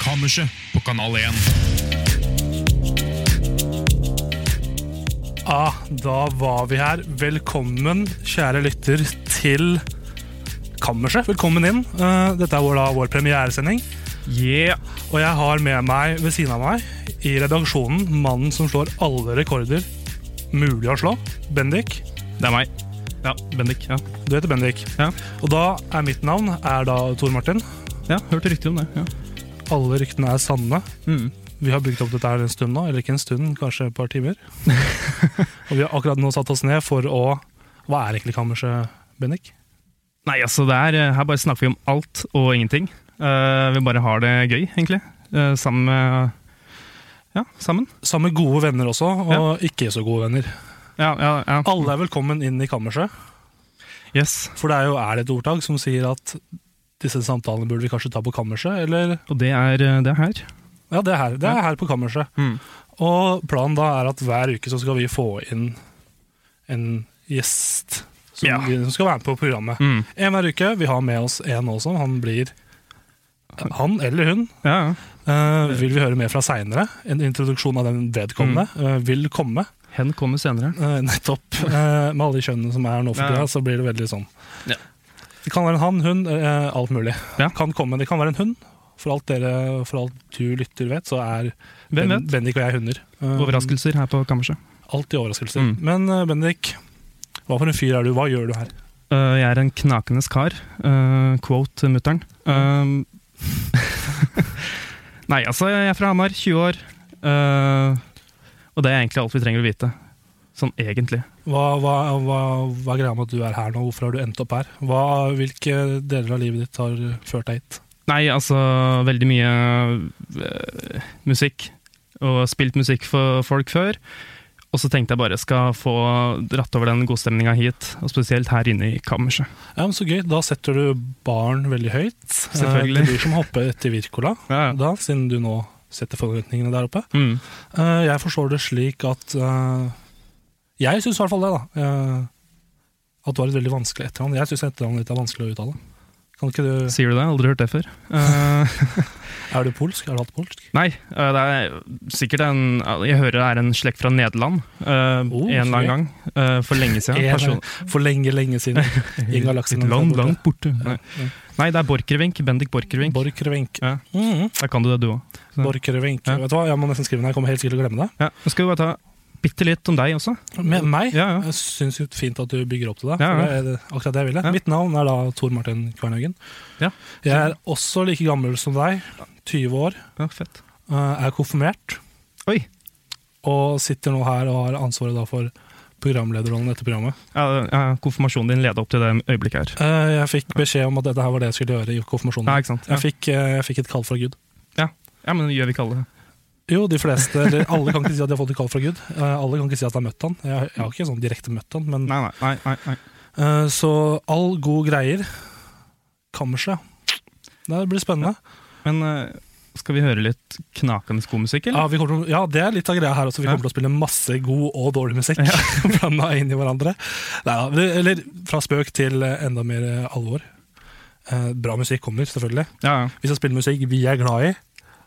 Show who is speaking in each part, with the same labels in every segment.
Speaker 1: Kammerset på Kanal 1.
Speaker 2: Ja, da var vi her. Velkommen, kjære lytter, til Kammerset. Velkommen inn. Eh, Dette er vår, da, vår premieresending.
Speaker 1: Yeah!
Speaker 2: Og jeg har med meg ved siden av meg i redaksjonen mannen som slår alle rekorder mulig å slå. Bendik.
Speaker 1: Det er meg. Ja, Bendik. Ja,
Speaker 2: Du heter Bendik.
Speaker 1: Ja.
Speaker 2: Og da er mitt navn er da Tor Martin.
Speaker 1: ja hørte rykter om det. Ja.
Speaker 2: Alle ryktene er sanne.
Speaker 1: Mm.
Speaker 2: Vi har bygd opp dette her en stund nå, eller ikke en stund, kanskje et par timer. og vi har akkurat nå satt oss ned for å Hva er egentlig Kammerset, Bendik?
Speaker 1: Nei, altså, det er, eh, her bare snakker vi om alt og ingenting. Eh, vi bare har det gøy, egentlig. Eh, sammen med Ja, sammen.
Speaker 2: Sammen med gode venner også, og ikke så gode venner.
Speaker 1: Ja, ja, ja.
Speaker 2: Alle er velkommen inn i kammerset,
Speaker 1: Yes.
Speaker 2: for det er jo er det et ordtak som sier at disse samtalene burde vi kanskje ta på kammerset, eller
Speaker 1: Og det er, eh, det er her.
Speaker 2: Ja, det er her, det er her på kammerset.
Speaker 1: Mm.
Speaker 2: Og planen da er at hver uke så skal vi få inn en gjest som,
Speaker 1: Ja.
Speaker 2: vi, som skal være med på programmet.
Speaker 1: Mm.
Speaker 2: En hver uke. Vi har med oss en også. Han blir Han eller hun
Speaker 1: Ja, ja.
Speaker 2: eh, vil vi høre mer fra seinere. En introduksjon av den vedkommende
Speaker 1: Mm.
Speaker 2: eh, vil komme.
Speaker 1: Hen kommer senere.
Speaker 2: Eh, nettopp. Eh, med alle de kjønnene som er nå for
Speaker 1: Ja, ja.
Speaker 2: tida, så blir det veldig sånn.
Speaker 1: Ja.
Speaker 2: Det kan være en han, hun, eh, alt mulig.
Speaker 1: Ja.
Speaker 2: Kan komme. Det kan være en hund. For alt, dere, for alt du lytter vet, så er ben,
Speaker 1: Hvem vet?
Speaker 2: Bendik og jeg hunder. Eh,
Speaker 1: Overraskelser her på kammerset.
Speaker 2: Alltid overraskelser.
Speaker 1: Mm.
Speaker 2: Men eh, Bendik, hva for en fyr er du? Hva gjør du her?
Speaker 1: Eh, jeg er en knakende skar. Eh, quote mutter'n. Um, nei, altså, jeg er fra Hamar, 20 år. Eh, og det er egentlig alt vi trenger å vite. Sånn egentlig.
Speaker 2: Hva, hva, hva, hva er greia med at du er her nå? Hvorfor har du endt opp her? Hva, hvilke deler av livet ditt har ført deg hit?
Speaker 1: Nei, altså, veldig mye eh, musikk. Og spilt musikk for folk før. Og så tenkte jeg bare skal få dratt over den godstemninga hit, og spesielt her inne i kammerset.
Speaker 2: Ja, men Så gøy. Da setter du barn veldig høyt. Eh,
Speaker 1: Selvfølgelig.
Speaker 2: Det blir som å hoppe etter Wirkola.
Speaker 1: Ja,
Speaker 2: da, siden du nå setter forventningene der oppe.
Speaker 1: Mm.
Speaker 2: Eh, jeg forstår det slik at eh, Jeg syns i hvert fall det, da. eh, at du har et veldig vanskelig etternavn. Jeg syns etternavnet ditt er vanskelig å uttale. Kan ikke du,
Speaker 1: Sier du det? Aldri hørt det før. Eh,
Speaker 2: er du polsk? Har du hatt polsk?
Speaker 1: Nei, øh, det er sikkert en Jeg hører det er en slekt fra Nederland. øh,
Speaker 2: Oh,
Speaker 1: en eller
Speaker 2: sorry.
Speaker 1: annen gang. øh, for lenge siden.
Speaker 2: En-
Speaker 1: Person-
Speaker 2: For lenge, lenge siden. Inga Laksen
Speaker 1: Litt langt,
Speaker 2: der borte.
Speaker 1: langt borte. Nei.
Speaker 2: ja.
Speaker 1: Nei, det er Borchgrevink. Bendik Borchgrevink.
Speaker 2: Borchgrevink.
Speaker 1: Ja.
Speaker 2: Mhm.
Speaker 1: Der kan du det, du òg. Ja.
Speaker 2: Borchgrevink.
Speaker 1: Ja.
Speaker 2: Vet du hva, jeg må nesten skrive den. her, Jeg kommer helt sikkert til å glemme det.
Speaker 1: Ja. Nå skal vi bare ta bitte litt om deg også.
Speaker 2: Med meg?
Speaker 1: Ja, ja.
Speaker 2: Jeg syns jo fint at du bygger opp til det.
Speaker 1: Ja, ja.
Speaker 2: for det er det- akkurat det jeg ville.
Speaker 1: Ja.
Speaker 2: Mitt navn er da Tor Martin Kvernhaugen.
Speaker 1: Ja.
Speaker 2: Jeg er også like gammel som deg, 20 år,
Speaker 1: Ja, fett.
Speaker 2: eh, er konfirmert.
Speaker 1: Oi.
Speaker 2: Og sitter nå her og har ansvaret da for programlederrollen etter programmet.
Speaker 1: Ja, ja, konfirmasjonen din leda opp til det øyeblikket her.
Speaker 2: Eh, Jeg fikk beskjed om at dette her var det jeg skulle gjøre i konfirmasjonen.
Speaker 1: Ja, ikke sant? Ja,
Speaker 2: Jeg, fikk, eh, jeg fikk et kall fra Gud.
Speaker 1: ja men gjør vi ikke alle det?
Speaker 2: Jo, de fleste, eller alle kan ikke si at de har fått et kall fra Gud. Eh, Alle kan ikke si at de har møtt han. Jeg, jeg har ikke sånn direkte møtt han, men
Speaker 1: Nei, nei, nei. nei, nei.
Speaker 2: Eh, Så all god greier. Kammerset. Det blir spennende.
Speaker 1: Men øh, skal vi høre litt knakende skomusikk, eller?
Speaker 2: Ja, vi kommer til, å- ja, det er litt av greia her også. Vi kommer til å spille masse god og dårlig musikk blanda inn i hverandre. Neida, det- eller fra spøk til eh, enda mer eh, alvor. Eh, Bra musikk kommer, selvfølgelig.
Speaker 1: Ja, ja.
Speaker 2: Vi skal spille musikk vi er glad i,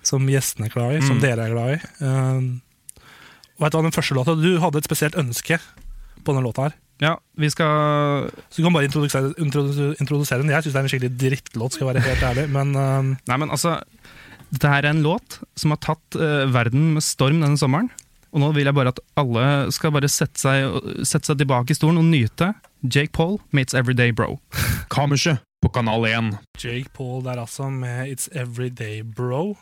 Speaker 2: som gjestene er glad i, som
Speaker 1: Mm.
Speaker 2: dere er glad i. Eh, vet du hva, den første låta Du hadde et spesielt ønske på den låta her.
Speaker 1: ja vi skal
Speaker 2: Så du kan bare introdusere, introdu- introdusere den. Jeg syns det er en skikkelig drittlåt, skal jeg være helt ærlig. Men eh,
Speaker 1: Nei, men altså, dette her er en låt som har tatt eh, verden med storm denne sommeren. Og nå vil jeg bare at alle skal bare sette seg, sette seg tilbake i stolen og nyte Jake Paul meets Everyday Bro.
Speaker 3: Kammerset på Kanal 1.
Speaker 2: Jake Paul der altså, med It's Everyday Bro.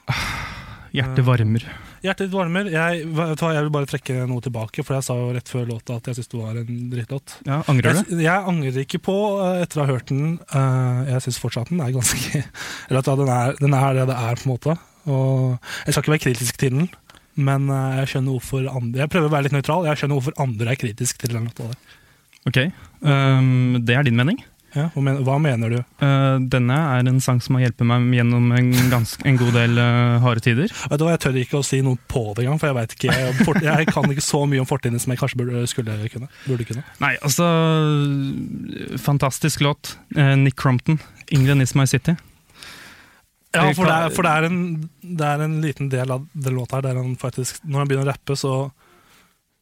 Speaker 1: Hjertet varmer.
Speaker 2: Hjertet varmer. Jeg, vet du hva, jeg vil bare trekke noe tilbake, for jeg sa jo rett før låta at jeg syntes det var en drittlåt.
Speaker 1: Ja, angrer
Speaker 2: Jeg,
Speaker 1: du?
Speaker 2: jeg angrer ikke på, eh, etter å ha hørt den eh, Jeg syns fortsatt den er ganske Eller at den er, den er det det er, på en måte. Og jeg skal ikke være kritisk til den, men eh, jeg skjønner hvorfor andre Jeg prøver å være litt nøytral, jeg skjønner hvorfor andre er kritisk til den låta. der.
Speaker 1: Ok. Ehm, det er din mening.
Speaker 2: Ja, hva, men, hva mener du?
Speaker 1: Eh, denne er en sang som har hjulpet meg gjennom en, ganske, en god del eh, harde tider.
Speaker 2: Vet du hva, Jeg tør ikke å si noe på det engang, for jeg vet ikke jeg, fort, jeg kan ikke så mye om fortiden som jeg kanskje burde, skulle kunne. Burde kunne.
Speaker 1: Nei, altså Fantastisk låt. Eh, Nick Crompton. 'England is my city'.
Speaker 2: Ja,
Speaker 1: Jeg
Speaker 2: for det
Speaker 1: kan-
Speaker 2: er, for det er, en, det er en liten del av den låta her der han faktisk Når han begynner å rappe, så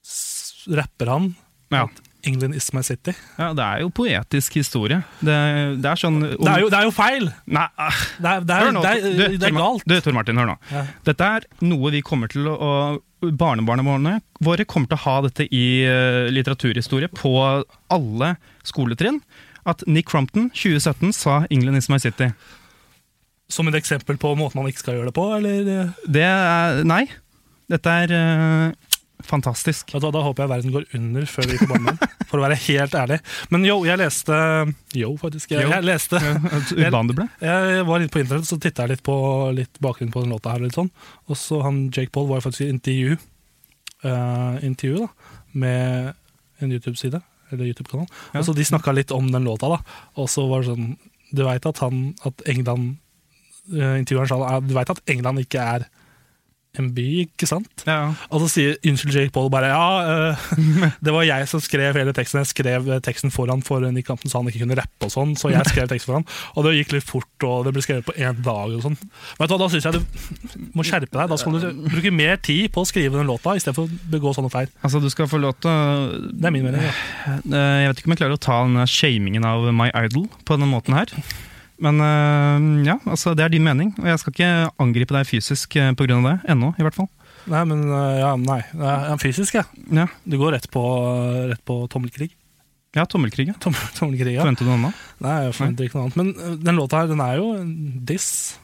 Speaker 2: s- rapper han
Speaker 1: Ja.
Speaker 2: 'England is my city'.
Speaker 1: ja, det er jo poetisk historie. Det, det er sånn
Speaker 2: Det er jo, det er jo feil!
Speaker 1: Nei, ah,
Speaker 2: Det er, det er,
Speaker 1: hør nå.
Speaker 2: det
Speaker 1: Du,
Speaker 2: er, det
Speaker 1: Tor
Speaker 2: er
Speaker 1: Mar-
Speaker 2: galt.
Speaker 1: Du, Tor Martin, hør nå.
Speaker 2: Ja.
Speaker 1: Dette er noe vi kommer til å og Barnebarna våre- våre kommer til å ha dette i eh, litteraturhistorie på alle skoletrinn. At Nick Crompton 2017 sa 'England is my city'.
Speaker 2: Som et eksempel på måten man ikke skal gjøre det på? Eller, eh,
Speaker 1: Det er Nei. Dette er eh, fantastisk.
Speaker 2: vet du hva, da håper jeg verden går under før vi får barnebarn, for å være helt ærlig. Men yo, jeg leste Yo, faktisk. Jeg,
Speaker 1: Yo.
Speaker 2: jeg leste
Speaker 1: At Urban du ble.
Speaker 2: Jeg var inne på internett, så titta jeg litt på litt bakgrunnen på den låta. her og litt sånn. Og så han Jake Paul var jo faktisk i intervju, eh, intervju da, med en YouTube-side, eller YouTube-kanal.
Speaker 1: Ja.
Speaker 2: Og så De snakka litt om den låta, da. og så var det sånn Du veit at han, at England eh, Intervjueren sa da, du veit at England ikke er en by, ikke sant?
Speaker 1: Ja,
Speaker 2: Og så sier unnskyld Jake Paul bare ja, eh, det var jeg som skrev hele teksten. Jeg skrev eh, teksten foran for Nick Hampton, så han ikke kunne rappe og sånn. Så jeg skrev teksten for han. Og det gikk litt fort, og det ble skrevet på én dag og sånn. Vet du hva, da syns jeg du må skjerpe deg. Da skal du bruke mer tid på å skrive den låta, istedenfor å begå sånne feil.
Speaker 1: altså du skal få lov til å
Speaker 2: Det er min mening. Ja.
Speaker 1: Eh, Jeg vet ikke om jeg klarer å ta den shamingen av My Idol på denne måten her. Men eh, ja, altså det er din mening, og jeg skal ikke angripe deg fysisk eh, på grunn av det. Ennå, i hvert fall.
Speaker 2: Nei, men eh, ja, nei. Jeg er fysisk, jeg.
Speaker 1: Ja,
Speaker 2: Du går rett på, eh, rett på tommelkrig.
Speaker 1: ja tommelkrig. ja.
Speaker 2: Tommel, tommelkrig, ja.
Speaker 1: Forventer du noe annet?
Speaker 2: Nei, jeg forventer ikke noe annet. Men eh, den låta her, den er jo en diss.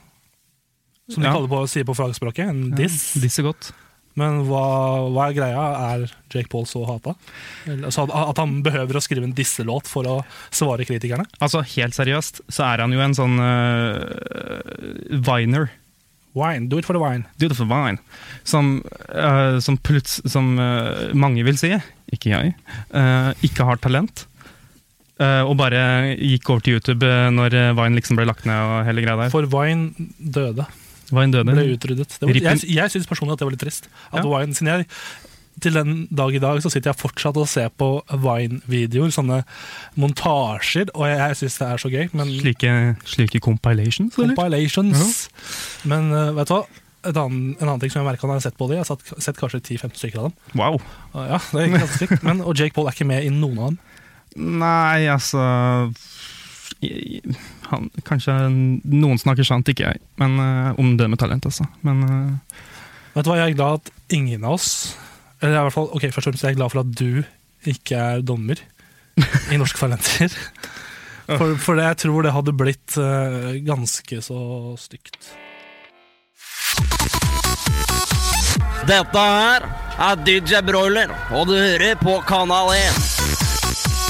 Speaker 2: Som de
Speaker 1: Ja.
Speaker 2: kaller på, sier på fagspråket. En diss.
Speaker 1: Ja, diss er godt.
Speaker 2: Men hva, hva er greia? Er Jake Paul så hata? Eller, altså, at- at han behøver å skrive en disselåt for å svare kritikerne?
Speaker 1: Altså, helt seriøst, så er han jo en sånn eh, Viner.
Speaker 2: Wine, do it for the wine.
Speaker 1: Dude for wine. Som, eh, som, pluts, som eh, mange vil si, ikke jeg, eh, ikke har talent. eh, og bare gikk over til YouTube eh, når eh, Vine liksom ble lagt ned og hele greia der.
Speaker 2: For wine døde.
Speaker 1: Vine døde.
Speaker 2: Ble utryddet. Det var,
Speaker 1: Rip in-
Speaker 2: jeg jeg syns personlig at det var litt trist. At
Speaker 1: Ja.
Speaker 2: wine, siden jeg, til den dag i dag så sitter jeg fortsatt og ser på Vine-videoer, sånne montasjer, og jeg, jeg syns det er så gøy. Men
Speaker 1: Slike, slike compilations, eller?
Speaker 2: compilations Men eh, vet du hva? Et annen, en annen ting som jeg merket når jeg har sett på det, jeg har sett, sett kanskje 10-15 stykker av dem.
Speaker 1: Wow.
Speaker 2: Og Ah, Ja, det er ganske sykt. Men, og Jake Paul er ikke med i noen av dem.
Speaker 1: Nei, altså jeg- jeg- han, Kanskje noen snakker sant, ikke jeg. Men eh, Om det med talent, altså. Men eh,
Speaker 2: Vet du hva, jeg er glad at ingen av oss Eller i hvert fall, ok, først og fremst er jeg glad for at du ikke er dommer i norske talenter. For, for det, jeg tror det hadde blitt eh, ganske så stygt.
Speaker 3: Dette her er DJ Broiler, og du hører på Kanal 1.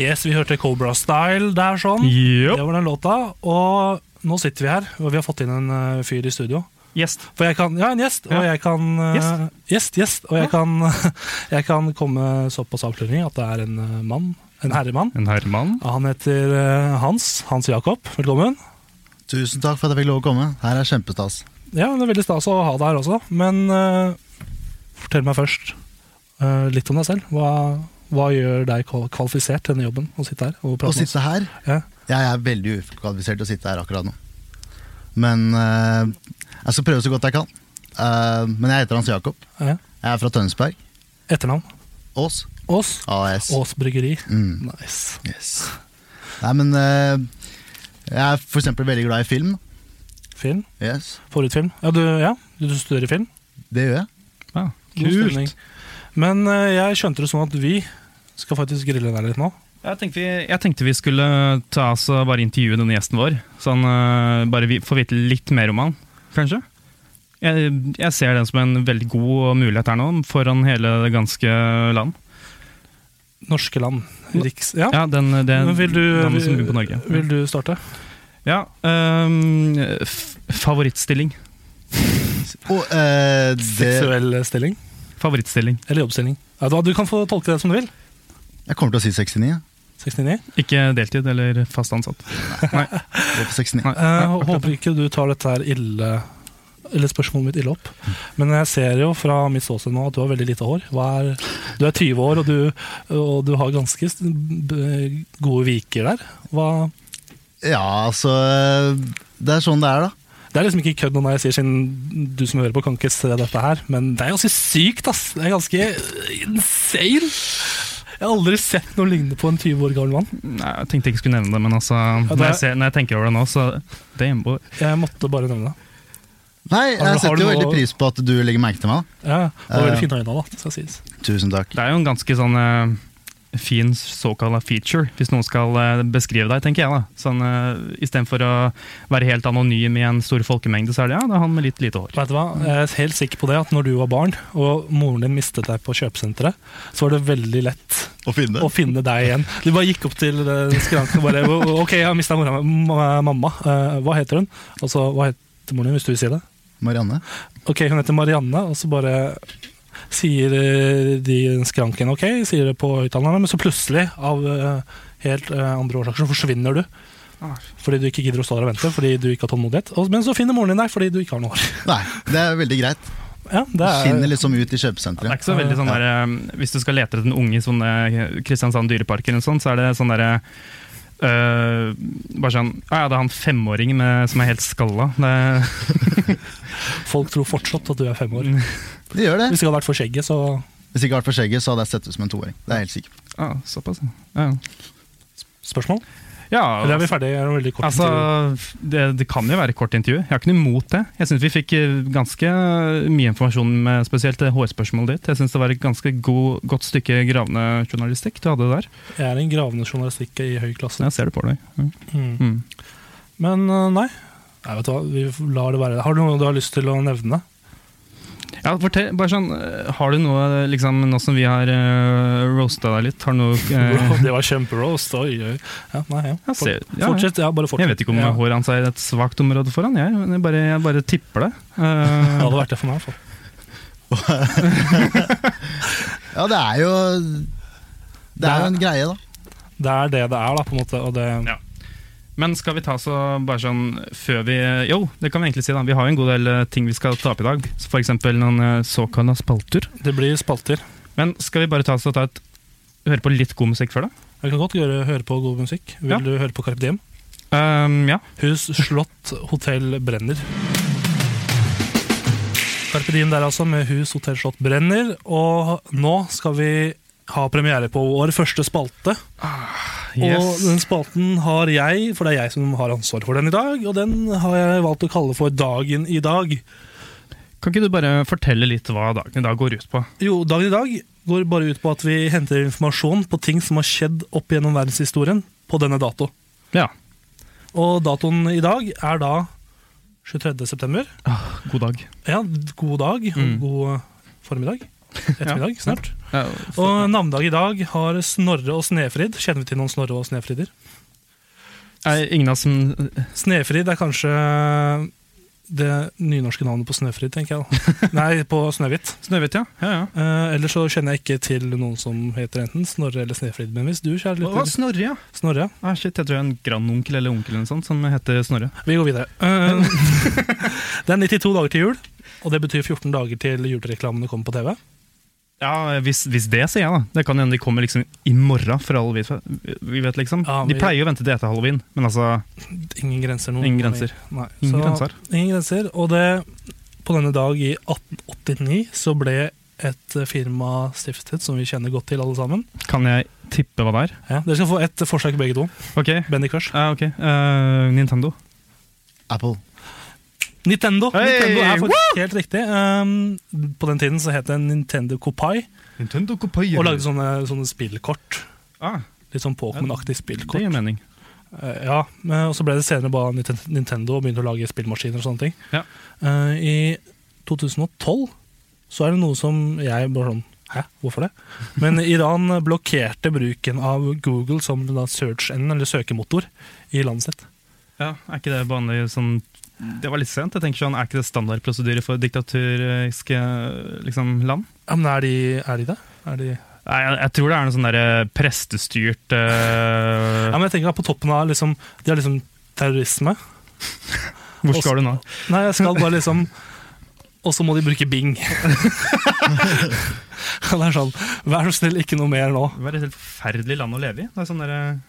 Speaker 2: Yes, vi hørte Cobra Style der, sånn. Det
Speaker 1: jo.
Speaker 2: var den låta. Og nå sitter vi her, og vi har fått inn en eh, fyr i studio.
Speaker 1: Gjest.
Speaker 2: For jeg kan, ja, en gjest, og
Speaker 1: Ja.
Speaker 2: jeg kan eh,
Speaker 1: Gjest.
Speaker 2: Gjest, gjest, og jeg,
Speaker 1: Ja.
Speaker 2: kan, jeg kan komme såpass avsløring at det er en eh, mann, en herremann.
Speaker 1: En herremann.
Speaker 2: Han heter eh, Hans, Hans Jakob, velkommen.
Speaker 4: Tusen takk for at jeg fikk lov å komme. Her er kjempestas.
Speaker 2: Ja, det er veldig stas å ha deg her også, men eh, fortell meg først eh, litt om deg selv. Hva, hva gjør deg kval- kvalifisert til denne jobben, å sitte her og
Speaker 4: Å
Speaker 2: prate med oss?
Speaker 4: sitte her
Speaker 2: Ja.
Speaker 4: Jeg er veldig ukvalifisert til å sitte her akkurat nå. Men eh, jeg skal prøve så godt jeg kan. Eh, men jeg heter Hans Jakob.
Speaker 2: Ja.
Speaker 4: Jeg er fra Tønsberg.
Speaker 2: Etternavn?
Speaker 4: Ås.
Speaker 2: Ås.
Speaker 4: AS.
Speaker 2: Ås Bryggeri.
Speaker 4: Mm.
Speaker 2: Nice.
Speaker 4: Yes. Nei, men eh, jeg er for eksempel veldig glad i film.
Speaker 2: Film.
Speaker 4: Yes,
Speaker 2: Forutfilm. Ja, du, ja, du studerer film.
Speaker 4: Det gjør jeg.
Speaker 1: Ja,
Speaker 2: God stemning.
Speaker 1: kult.
Speaker 2: Men eh, jeg skjønte det sånn at vi skal faktisk grille deg litt nå.
Speaker 1: Jeg tenkte, vi, jeg tenkte vi skulle ta oss og bare intervjue denne gjesten vår. Så han eh, bare vi, får vite litt mer om han, kanskje. Jeg, jeg ser den som en veldig god mulighet her nå, foran hele det ganske land.
Speaker 2: Norske land. Riks... Ja.
Speaker 1: Ja, den, den,
Speaker 2: Men vil du,
Speaker 1: den som bor på Norge.
Speaker 2: vil du starte?
Speaker 1: Ja, ehm, f- favorittstilling.
Speaker 4: Og, eh, det,
Speaker 2: Seksuell stilling?
Speaker 1: Favorittstilling.
Speaker 2: Eller jobbstilling? Ja, da- du kan få tolke det som du vil.
Speaker 4: jeg kommer til å si 69. ja.
Speaker 2: 69.
Speaker 1: Ikke deltid eller fast ansatt.
Speaker 4: Gå for 69.
Speaker 1: Nei.
Speaker 2: Jeg Eh, håper ikke du tar dette her ille eller spørsmålet mitt ille opp. Men jeg ser jo fra mitt ståsted nå at du har veldig lite hår. Hva er, du er 20 år, og du, og du har ganske s- b- gode viker der. Hva,
Speaker 4: Ja, altså eh, Det er sånn det er, da.
Speaker 2: det er liksom ikke kødd når jeg sier siden du som hører på kan ikke se dette her, men det er ganske sykt, ass. Det er ganske insane. Jeg har aldri sett noe lignende på en 20 år gammel mann.
Speaker 1: Nei, jeg tenkte jeg ikke skulle nevne det, men altså,
Speaker 2: det
Speaker 1: når,
Speaker 2: er-
Speaker 1: jeg ser, når jeg tenker over det nå, så Damn, boy.
Speaker 2: Jeg måtte bare nevne det.
Speaker 4: Nei,
Speaker 2: Har du-
Speaker 4: jeg
Speaker 2: har
Speaker 4: setter
Speaker 2: du
Speaker 4: jo
Speaker 2: noe-
Speaker 4: veldig pris på at du legger merke til meg.
Speaker 2: Ja, det var
Speaker 4: Eh.
Speaker 2: veldig fine øyne da, det skal sies.
Speaker 4: da. Tusen takk.
Speaker 1: Det er jo en ganske sånn eh, fin såkalla feature, hvis noen skal eh, beskrive deg, tenker jeg. da. Sånn, eh, Istedenfor å være helt anonym i en stor folkemengde, så er det ja, det er han med litt lite hår.
Speaker 2: Vet du hva? Jeg er helt sikker på det at når du var barn og moren din mistet deg på kjøpesenteret, så var det veldig lett
Speaker 4: Å finne.
Speaker 2: å finne deg igjen. Du bare gikk opp til eh, skranken og bare OK, jeg har mista mora mi. Ma- Mamma, eh, hva heter hun? Og så hva heter moren din, hvis du vil si det?
Speaker 4: Marianne.
Speaker 2: OK, hun heter Marianne, og så bare sier eh, de i den skranken OK, sier det på høyttalerne, men så plutselig, av eh, helt eh, andre årsaker, så forsvinner du. Fordi du ikke gidder å stå der og vente, fordi du ikke har tålmodighet. Og- Men så finner moren din deg fordi du ikke har noe hår.
Speaker 4: Nei, det er veldig greit.
Speaker 2: Ja, det
Speaker 4: Du
Speaker 2: er
Speaker 4: skinner liksom ut i
Speaker 1: Det er
Speaker 4: kjøpesenteret.
Speaker 1: ikke så veldig sånn
Speaker 4: Ja.
Speaker 1: der, eh, Hvis du skal lete etter en unge i sånne eh, Kristiansand dyrepark, eller noe sånt, så er det sånn derre eh, bare sånn Ja, ja, det er han femåringen med- som er helt skalla. Det,
Speaker 2: Folk tror fortsatt at du er fem år.
Speaker 4: Det gjør det.
Speaker 2: Hvis det ikke hadde vært for skjegget, så
Speaker 4: Hvis ikke hadde vært for skjegget, så hadde jeg sett ut som en toåring. Det er jeg helt sikkert.
Speaker 1: ja, såpass, ja.
Speaker 2: Spørsmål?
Speaker 1: ja.
Speaker 2: Eller er vi ferdige? Er det veldig kort
Speaker 1: Altså,
Speaker 2: intervju?
Speaker 1: det, det kan jo være kort intervju. Jeg har ikke noe imot det. Jeg syns vi fikk eh, ganske mye informasjon med spesielt det hårspørsmålet ditt. Jeg syns det var et ganske god, godt stykke gravende journalistikk du hadde der.
Speaker 2: Jeg er en gravende journalistikk i høy klasse.
Speaker 1: Jeg ser det på deg. Mm.
Speaker 2: Mm.
Speaker 1: Mm.
Speaker 2: Men øh, nei. nei vet du hva? Vi lar det være. Har du noe du har lyst til å nevne?
Speaker 1: Ja, fortell, bare sånn, eh, har du noe, liksom, nå som vi har uh, roasta deg litt, har du noe
Speaker 2: Bro,
Speaker 1: eh,
Speaker 2: det var kjemperoast. Oi, oi. Ja, nei, ja.
Speaker 1: Ja, se- ja, ja.
Speaker 2: Fortsett. Ja, bare fortsett.
Speaker 1: Jeg vet ikke om
Speaker 2: ja.
Speaker 1: håret hans er et svakt område for han, jeg, men jeg bare, jeg bare tipper det. Eh,
Speaker 2: Det hadde vært det for meg, i hvert fall.
Speaker 4: Ja, det er jo Det er jo en greie, da.
Speaker 2: Det er det det er, da, på en måte. Og det,
Speaker 1: Ja. Men skal vi ta så bare sånn før vi Jo, det kan vi egentlig si, da. Vi har jo en god del eh, ting vi skal ta opp i dag. Så For eksempel noen eh, såkalla spalter.
Speaker 2: det blir spalter.
Speaker 1: Men skal vi bare ta, så ta et Høre på litt god musikk før, da?
Speaker 2: Jeg kan godt gjøre, høre på god musikk. Vil
Speaker 1: Ja.
Speaker 2: du høre på Carpe Diem?
Speaker 1: Ehm, ja.
Speaker 2: Hus, slott, hotell brenner. Carpe Diem der altså, med Hus, hotell, slott brenner. Og nå skal vi ha premiere på vår første spalte. Og den spalten har jeg, for det er jeg som har ansvar for den i dag. Og den har jeg valgt å kalle for Dagen i dag.
Speaker 1: Kan ikke du bare fortelle litt hva dagen i dag går ut på?
Speaker 2: Jo, Dagen i dag går bare ut på at vi henter informasjon på ting som har skjedd opp gjennom verdenshistorien på denne dato.
Speaker 1: Ja.
Speaker 2: Og datoen i dag er da 23. september.
Speaker 1: God dag.
Speaker 2: Ja, god dag og
Speaker 1: Mm.
Speaker 2: god eh, formiddag. Ettermiddag, snart.
Speaker 1: Ja,
Speaker 2: Og navnedag i dag har Snorre og Snefrid. Kjenner vi til noen Snorre og Snefrider?
Speaker 1: er ingen av oss som
Speaker 2: Snefrid er kanskje det nynorske navnet på Snøfrid, tenker jeg. da. Nei, på Snøhvit.
Speaker 1: Snøhvit, ja. ja, ja.
Speaker 2: Eh, ellers så kjenner jeg ikke til noen som heter enten Snorre eller Snefrid. Men hvis du, kjære
Speaker 1: Å,
Speaker 2: lytter
Speaker 1: Snorre, ja.
Speaker 2: Snorre, ja.
Speaker 1: Ah, shit, jeg tror jeg er en grandonkel eller onkel eller noe sånt som heter Snorre.
Speaker 2: Vi går videre. Eh, det er 92 dager til jul, og det betyr 14 dager til julereklamene kommer på TV.
Speaker 1: Ja, hvis, hvis det, sier jeg da. Det kan hende de kommer liksom i morgen, for alle vi, vi vet, liksom.
Speaker 2: Ja,
Speaker 1: De
Speaker 2: vi-
Speaker 1: pleier jo å vente til etter halloween, men altså
Speaker 2: Ingen grenser. Noen
Speaker 1: Ingen grenser.
Speaker 2: Nei.
Speaker 1: Ingen
Speaker 2: så,
Speaker 1: grenser.
Speaker 2: Ingen grenser. Og det, på denne dag i 1889 så ble et firma stiftet som vi kjenner godt til alle sammen.
Speaker 1: Kan jeg tippe hva det er?
Speaker 2: Ja, dere skal få et forsøk begge to.
Speaker 1: Ok.
Speaker 2: Benny Crush.
Speaker 1: Ja, ok. Eh, Nintendo.
Speaker 4: Apple.
Speaker 2: Nintendo!
Speaker 1: Hey,
Speaker 2: Nintendo er faktisk helt riktig. Um, på den tiden så het det Nintendo Copai,
Speaker 1: Nintendo Copai.
Speaker 2: og lagde sånne, sånne spillkort.
Speaker 1: ah,
Speaker 2: Litt sånn Pokémon-aktig spillkort.
Speaker 1: Det gir mening.
Speaker 2: Eh, Ja, men- og så ble det senere bare Niten- Nintendo og begynte å lage spillmaskiner og sånne ting.
Speaker 1: Ja.
Speaker 2: Eh, I 2012 så er det noe som jeg bare sånn Hæ, hvorfor det? Men Iran blokkerte bruken av Google som da search engine, eller søkemotor, i landet sitt.
Speaker 1: Ja, er ikke det vanlig sånn Det var litt sent. jeg tenker sånn, Er ikke det standardprosedyre for diktaturiske liksom, land?
Speaker 2: Ja, men er de, er de det? Er de
Speaker 1: Nei, jeg, jeg tror det er noe sånn derre prestestyrt eh,
Speaker 2: Ja, men jeg tenker at på toppen av liksom De har liksom terrorisme.
Speaker 1: Hvor skal du nå?
Speaker 2: Nei, jeg skal bare liksom Og så må de bruke Bing. det er sånn Vær så snill, ikke noe mer nå.
Speaker 1: Det var et helt forferdelig land å leve i. Det er sånn derre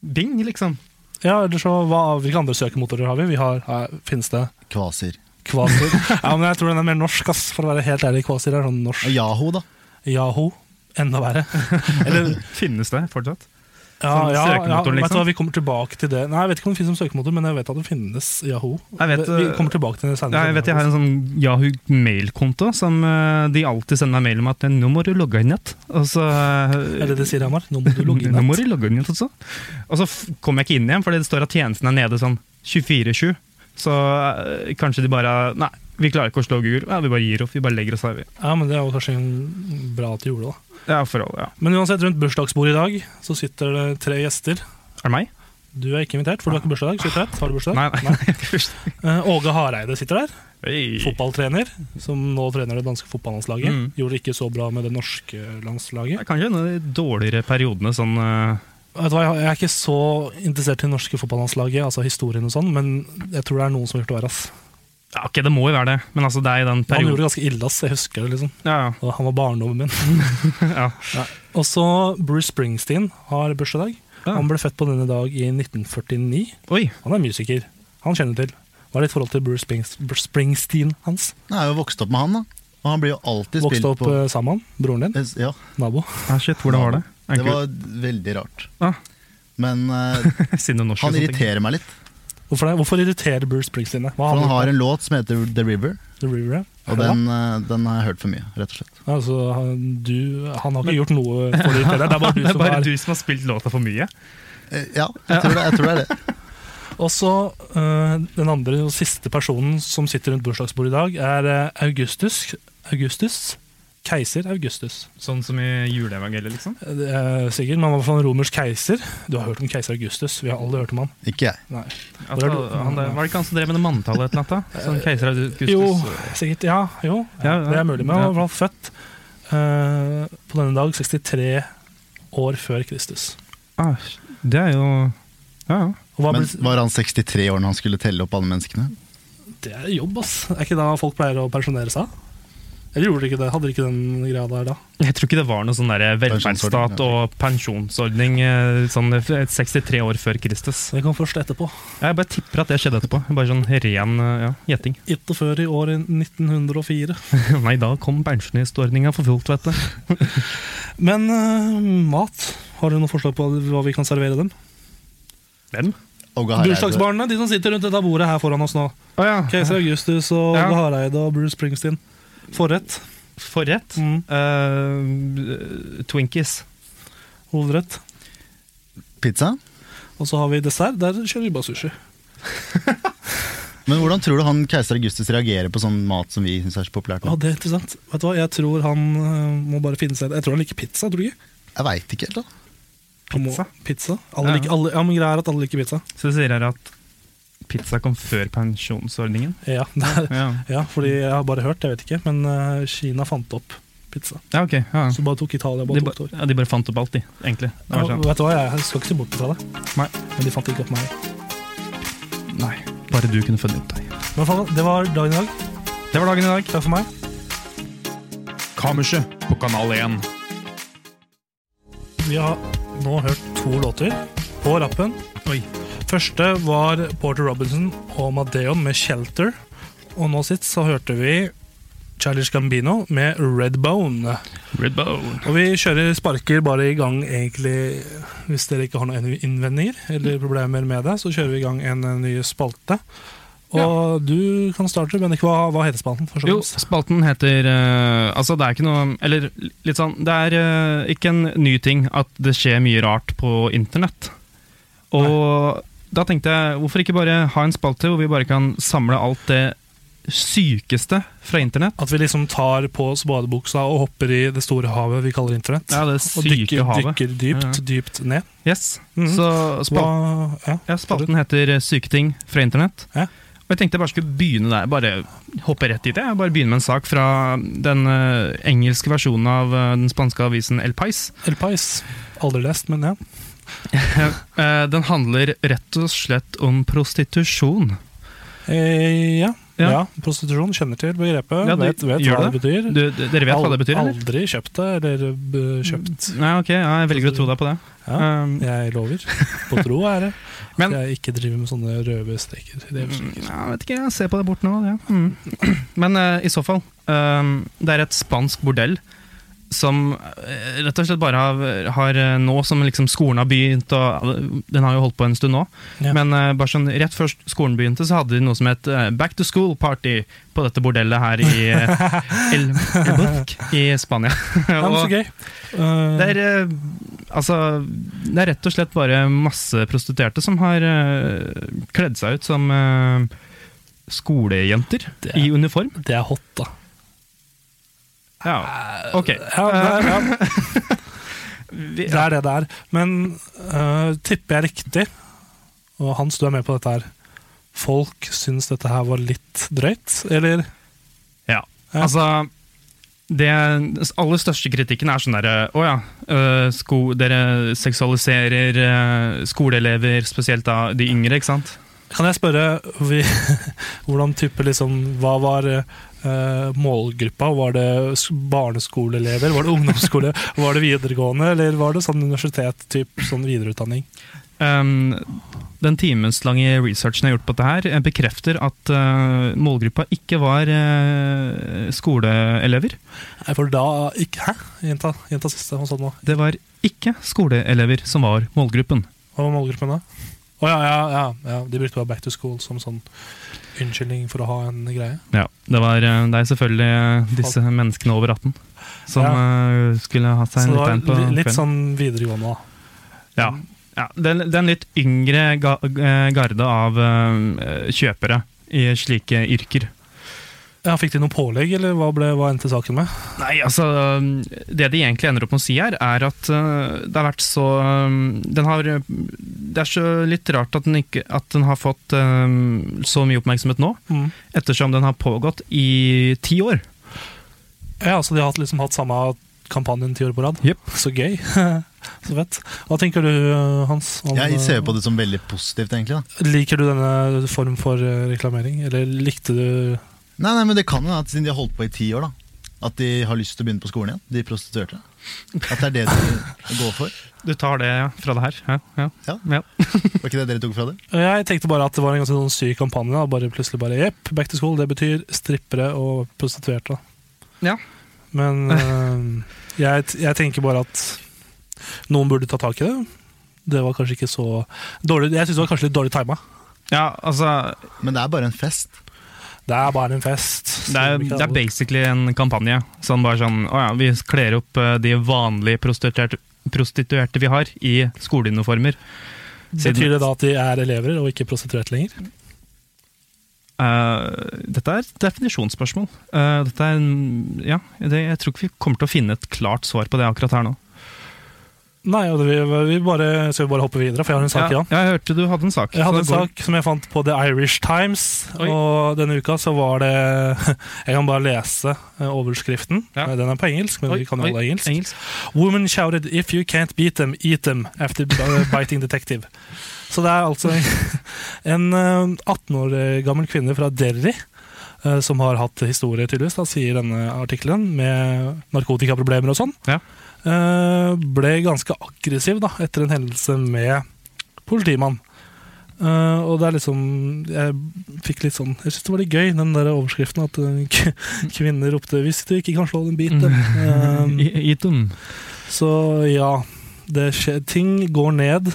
Speaker 1: Bing, liksom.
Speaker 2: Ja, eller så hva, Hvilke andre søkemotorer har vi? Vi har, her, Finnes det
Speaker 4: Kvasir.
Speaker 2: Kvasir? ja, men Jeg tror den er mer norsk, ass, for å være helt ærlig. Kvasir er sånn norsk.
Speaker 4: Yahoo, da.
Speaker 2: Yahoo. Enda verre.
Speaker 1: Eller finnes det fortsatt?
Speaker 2: Ja,
Speaker 1: Som
Speaker 2: ja, ja,
Speaker 1: Sånn
Speaker 2: vet du
Speaker 1: søkemotoren,
Speaker 2: hva,
Speaker 1: liksom?
Speaker 2: Vi kommer tilbake til det. Nei, Jeg vet ikke om det finnes som søkemotor, men jeg vet at det finnes Yahoo.
Speaker 1: Jeg vet,
Speaker 2: vi, vi
Speaker 1: eh,
Speaker 2: kommer tilbake til det senere.
Speaker 1: Ja, jeg vet jeg har en sånn Yahoo mailkonto som eh, de alltid sender meg mail om at eh, nå må du logge inn igjen. Og så eh,
Speaker 2: Er det det sier, Hamar? Nå må du logge inn.
Speaker 1: Nå må
Speaker 2: igjen.
Speaker 1: du logge inn igjen også. Og så f- kom jeg ikke inn igjen, fordi det står at tjenesten er nede sånn 24-7. Så eh, kanskje de bare Nei, vi klarer ikke å slå Google. Ja, vi bare gir opp. Vi bare legger oss her, vi.
Speaker 2: Ja, men Det er jo kanskje en bra at du gjorde det. da.
Speaker 1: Ja, forhold, ja.
Speaker 2: Men uansett, rundt bursdagsbordet i dag så sitter det tre gjester.
Speaker 1: Er det meg?
Speaker 2: Du er ikke invitert, for du har ikke bursdag i dag. så vidt jeg vet. Har du bursdag?
Speaker 1: Nei, nei.
Speaker 2: Eh, Åge Hareide sitter der,
Speaker 1: Hey.
Speaker 2: fotballtrener, som nå trener det danske fotballandslaget.
Speaker 1: Mm.
Speaker 2: Gjorde det ikke så bra med det norske landslaget.
Speaker 1: Det er kanskje en av de dårligere periodene sånn eh,
Speaker 2: Vet du hva, Jeg jeg er ikke så interessert i det norske fotballandslaget, altså historien og sånn, men jeg tror det er noen som har gjort det verre. ass.
Speaker 1: Ja, ok, det må jo være det, men altså, det er i
Speaker 2: Han
Speaker 1: den
Speaker 2: gjorde
Speaker 1: perioden
Speaker 2: det ganske ille, ass. Jeg husker det, liksom.
Speaker 1: ja, ja.
Speaker 2: Og Han var barndommen min.
Speaker 1: Ja.
Speaker 2: Nei. Og så Bruce Springsteen har bursdag. i dag.
Speaker 1: Ja.
Speaker 2: Han ble født på denne dag i 1949.
Speaker 1: Oi!
Speaker 2: Han er musiker. Han kjenner til. Hva er ditt forhold til Bruce Springs Bruce Springsteen hans?
Speaker 4: Jeg er jo vokst opp med han, da. Og han blir jo alltid
Speaker 2: Vokste
Speaker 4: spilt
Speaker 2: opp
Speaker 4: på
Speaker 2: eh, sammen med han, broren din,
Speaker 4: Ja,
Speaker 2: nabo.
Speaker 1: Ah, shit, hvordan var det? Er
Speaker 4: det
Speaker 1: ikke-
Speaker 4: var veldig rart.
Speaker 1: Ah.
Speaker 4: Men eh,
Speaker 1: Siden det er norsk,
Speaker 4: han
Speaker 1: og sånne ting.
Speaker 4: irriterer meg litt.
Speaker 2: Hvorfor, det? Hvorfor irriterer Bruce Springsteen deg? Hva
Speaker 4: For han har
Speaker 2: gjort
Speaker 4: en låt som heter The River,
Speaker 2: da? The River, ja.
Speaker 4: og
Speaker 2: Ja.
Speaker 4: den, eh, den har jeg hørt for mye, rett og slett.
Speaker 2: Altså, han, du, han har ikke gjort noe for å irritere deg, det er bare du
Speaker 1: Det er
Speaker 2: som
Speaker 1: bare
Speaker 2: er
Speaker 1: du som har spilt låta for mye.
Speaker 4: Eh, Ja, jeg tror det, jeg tror det er det.
Speaker 2: Og så eh, den andre og siste personen som sitter rundt bursdagsbordet i dag, er eh, Augustus. Augustus. Keiser Augustus.
Speaker 1: Sånn som i juleevangeliet, liksom.
Speaker 2: Eh, Det er sikkert, men han var i hvert fall en romersk keiser. Du har hørt om keiser Augustus, vi har alle hørt om han.
Speaker 4: Ikke jeg.
Speaker 2: Nei.
Speaker 1: At,
Speaker 2: Hvor er du-
Speaker 1: han, der- var det ikke han som drev med det manntallet et eller annet? da? Sånn keiser Augustus?
Speaker 2: Jo, sikkert. Ja, jo.
Speaker 1: Ja, ja.
Speaker 2: Det er mulig. Men han
Speaker 1: Ja.
Speaker 2: var i hvert fall født eh, på denne dag 63 år før Kristus.
Speaker 1: Ah, det er jo Ja, ja.
Speaker 2: Og hva
Speaker 4: Men
Speaker 2: ble,
Speaker 4: var han 63 år når han skulle telle opp alle menneskene?
Speaker 2: det er jobb, ass. Er ikke da folk pleier å pensjonere seg? Eller gjorde de ikke det? Hadde de ikke den greia der da?
Speaker 1: Jeg tror ikke det var noe sånn der velferdsstat
Speaker 4: Pensjonsordning, ja.
Speaker 1: og pensjonsordning eh, sånn f- 63 år før Kristus.
Speaker 2: Så det kom først etterpå.
Speaker 1: Jeg bare tipper at det skjedde etterpå. Bare sånn ren eh, ja, gjetting.
Speaker 2: Ikke før i år 1904.
Speaker 1: Nei, da kom pensjonistordninga for fullt, vet du.
Speaker 2: Men eh, mat Har du noen forslag på hva vi kan servere dem?
Speaker 1: Hvem?
Speaker 4: Åge Hareide-
Speaker 2: Bursdagsbarna, de som sitter rundt dette bordet her foran oss nå.
Speaker 1: Å ja.
Speaker 2: Keiser Augustus og
Speaker 1: Ja.
Speaker 2: Åge Hareide og Bruce Springsteen. Forrett.
Speaker 1: Forrett?
Speaker 2: Mm.
Speaker 1: Eh, Twinkies.
Speaker 2: Hovedrett.
Speaker 4: Pizza?
Speaker 2: Og så har vi dessert. Der kjører vi bare sushi.
Speaker 4: Men hvordan tror du han keiser Augustus reagerer på sånn mat som vi syns er så populært
Speaker 2: Ja,
Speaker 4: nå?
Speaker 2: det er interessant. Vet du hva, Jeg tror han øh, må bare finne seg Jeg tror han liker pizza. tror du ikke?
Speaker 4: Jeg veit ikke helt, da.
Speaker 2: Han må-
Speaker 1: Pizza?
Speaker 2: pizza? Alle
Speaker 1: Ja.
Speaker 2: liker, alle, ja, men Greia er at alle liker pizza.
Speaker 1: Så det sier her at pizza kom før pensjonsordningen.
Speaker 2: Ja, det er,
Speaker 1: Ja,
Speaker 2: ja fordi jeg har bare hørt, jeg vet ikke. Men øh, Kina fant opp pizza.
Speaker 1: ja ok. Ja.
Speaker 2: Så bare tok Italia
Speaker 1: De,
Speaker 2: bare
Speaker 1: ba,
Speaker 2: tok det over.
Speaker 1: ja, de bare fant opp alt, de, egentlig. Det var
Speaker 2: Ja,
Speaker 1: sånn.
Speaker 2: vet du hva, jeg skal ikke se bort fra det.
Speaker 1: Nei.
Speaker 2: Men de fant ikke opp meg.
Speaker 1: Nei, bare du kunne funnet opp deg.
Speaker 2: Men i hvert fall, det var dagen i dag.
Speaker 1: Det var dagen i dag.
Speaker 2: Takk for meg.
Speaker 5: Kammerset på Kanal 1.
Speaker 2: Vi har nå hørt to låter på rappen.
Speaker 1: Oi.
Speaker 2: Første var Porter Robinson og Madeon med 'Shelter'. Og nå sist så hørte vi Childish Gambino med 'Redbone'.
Speaker 1: Red Bone.
Speaker 2: Og vi kjører sparker bare i gang, egentlig, hvis dere ikke har noen innvendinger eller problemer med det, så kjører vi i gang en eh, ny spalte. Og du kan starte, men ikke hva, hva heter spalten? sånn? først og
Speaker 1: Jo,
Speaker 2: fremst?
Speaker 1: spalten heter eh, Altså, det er ikke noe Eller litt sånn Det er eh, ikke en ny ting at det skjer mye rart på internett. Og da tenkte jeg, hvorfor ikke bare ha en spalte hvor vi bare kan samle alt det sykeste fra internett?
Speaker 2: At vi liksom tar på oss badebuksa og hopper i det store havet vi kaller internett.
Speaker 1: Ja, det
Speaker 2: og
Speaker 1: syke
Speaker 2: dykker,
Speaker 1: havet.
Speaker 2: dykker dypt,
Speaker 1: Ja.
Speaker 2: dypt ned.
Speaker 1: Yes.
Speaker 2: Mhm.
Speaker 1: Så spalten,
Speaker 2: Hva, ja.
Speaker 1: ja, spalten heter eh, Syke ting fra internett.
Speaker 2: Ja.
Speaker 1: Og jeg tenkte jeg bare skulle begynne der. Bare hoppe rett dit. Jeg bare begynne med en sak fra den eh, engelske versjonen av eh, den spanske avisen El Pais.
Speaker 2: El Pais. Aldri lest, men ja.
Speaker 1: Eh, Den handler rett og slett om prostitusjon.
Speaker 2: Eh, ja.
Speaker 1: Ja.
Speaker 2: Ja. prostitusjon. Kjenner til begrepet.
Speaker 1: Ja, du
Speaker 2: vet vet
Speaker 1: gjør
Speaker 2: hva det, betyr.
Speaker 1: Du, d- dere vet hva det betyr, eller?
Speaker 2: Aldri kjøpt det, eller eh, kjøpt.
Speaker 1: Nei, ok, ja, Jeg velger å tro deg på det.
Speaker 2: Ja.
Speaker 1: Um,
Speaker 2: Jeg lover. På tro er det.
Speaker 1: Men-
Speaker 2: At jeg ikke driver med sånne røde streker. Det er
Speaker 1: Mm, Jeg vet ikke, jeg ser på det bort nå. Ja. Mm. Men eh, i så fall, ehm, det er et spansk bordell som eh, rett og slett bare har, har eh, nå som liksom skolen har begynt, og den har jo holdt på en stund nå,
Speaker 2: Ja.
Speaker 1: men eh, bare sånn rett før skolen begynte, så hadde de noe som het eh, back to school party på dette bordellet her i eh, El, El Bosque i Spania.
Speaker 2: Ja, men
Speaker 1: Og-
Speaker 2: så gøy. Eh,
Speaker 1: det er, eh, altså, det er rett og slett bare masse prostituerte som har eh, kledd seg ut som eh, skolejenter
Speaker 2: Det-
Speaker 1: i uniform.
Speaker 2: det er hot, da.
Speaker 1: Ja, ok.
Speaker 2: Ja, det, er, ja,
Speaker 1: Vi,
Speaker 2: det er det det er. Men eh, tipper jeg riktig, og Hans, du er med på dette her Folk syns dette her var litt drøyt, eller?
Speaker 1: ja. Altså, det, den aller største kritikken er sånn derre Å ja, eh, sko, dere seksualiserer eh, skoleelever, spesielt da de yngre, ikke sant?
Speaker 2: Kan jeg spørre vi, hvordan type liksom Hva var eh, målgruppa? Var det s- barneskoleelever? Var det ungdomsskole? Var det videregående? Eller var det sånn universitet, typ, sånn videreutdanning?
Speaker 1: Um, den timeslange researchen jeg har gjort på dette her, eh, bekrefter at eh, målgruppa ikke var eh, skoleelever.
Speaker 2: Nei, for da ikke, Hæ? Jenta, jenta siste, hva sa du nå?
Speaker 1: Det var ikke skoleelever som var målgruppen.
Speaker 2: Hva var målgruppen da? Å ja, ja, ja, ja, de brukte bare back to school som sånn unnskyldning for å ha en greie.
Speaker 1: Ja, det, var, eh, det er selvfølgelig eh, disse menneskene over 18 som eh, skulle hatt
Speaker 2: Så
Speaker 1: seg en
Speaker 2: det var
Speaker 1: liten på
Speaker 2: li- litt
Speaker 1: kvelden.
Speaker 2: sånn videregående, da.
Speaker 1: Ja. ja den, den litt yngre ga, eh, garde av eh, kjøpere i slike yrker.
Speaker 2: Ja, fikk de noe pålegg, eller hva, ble, hva endte saken med?
Speaker 1: Nei, altså Det de egentlig ender opp med å si her, er at øh, det har vært så øh, Den har øh, Det er så litt rart at den, ikke, at den har fått øh, så mye oppmerksomhet nå,
Speaker 2: Mm.
Speaker 1: ettersom den har pågått i ti år.
Speaker 2: Ja, så de har hatt, liksom hatt samme kampanjen ti år på rad.
Speaker 1: Jep.
Speaker 2: Så gøy. så fett. Hva tenker du, Hans? om- eh,
Speaker 4: Jeg ser jo på det som veldig positivt, egentlig. da
Speaker 2: Liker du denne form for eh, reklamering, eller likte du
Speaker 4: Nei, nei, men Det kan jo være at siden de har holdt på i ti år, da at de har lyst til å begynne på skolen igjen. De prostituerte. At det er det de går for.
Speaker 1: Du tar det fra det her? Ja. ja.
Speaker 4: Ja. Var ikke det dere tok fra det?
Speaker 2: Jeg tenkte bare at det var en ganske sånn syk kampanje. Da. Bare plutselig bare Jepp, back to school. Det betyr strippere og prostituerte. da.
Speaker 1: Ja.
Speaker 2: Men eh, jeg, t- jeg tenker bare at noen burde ta tak i det. Det var kanskje ikke så dårlig Jeg syns det var kanskje litt dårlig tima.
Speaker 1: ja, altså
Speaker 4: Men det er bare en fest.
Speaker 2: Det er bare en fest.
Speaker 1: Det er, det er basically en kampanje. Sånn bare sånn Å ja, vi kler opp eh, de vanlige prostituerte, prostituerte vi har, i skoleuniformer.
Speaker 2: Betyr det da at de er elever og ikke prostituerte lenger?
Speaker 1: Eh, dette er et definisjonsspørsmål. Eh, dette er, en- ja, det, jeg tror ikke vi kommer til å finne et klart svar på det akkurat her nå.
Speaker 2: Nei, og det, vi, vi bare, skal vi bare hoppe videre, for jeg har en sak
Speaker 1: ja,
Speaker 2: igjen.
Speaker 1: jeg hørte du hadde en sak.
Speaker 2: Jeg hadde en
Speaker 1: så det går-
Speaker 2: sak som jeg fant på The Irish Times,
Speaker 1: Oi.
Speaker 2: og denne uka så var det Jeg kan bare lese eh, overskriften.
Speaker 1: Ja.
Speaker 2: Eh, Den er på engelsk, men
Speaker 1: Oi,
Speaker 2: vi kan
Speaker 1: oi,
Speaker 2: holde engelsk.
Speaker 1: engelsk.
Speaker 2: Woman shouted 'If you can't beat them, eat them' after b- uh, biting detective. Så det er altså en eh, 18 år gammel kvinne fra Derry eh, som har hatt historie, tydeligvis, da, sier denne artikkelen, med narkotikaproblemer og sånn.
Speaker 1: Ja.
Speaker 2: Eh, Ble ganske aggressiv da, etter en hendelse med politimann. Eh, og det er liksom Jeg fikk litt sånn Jeg syns det var litt gøy, den der overskriften at eh, k- kvinner ropte 'Hvis du ikke kan slå den, bit den'. Eh,
Speaker 1: I- i dum.
Speaker 2: så ja, det skjer. ting går ned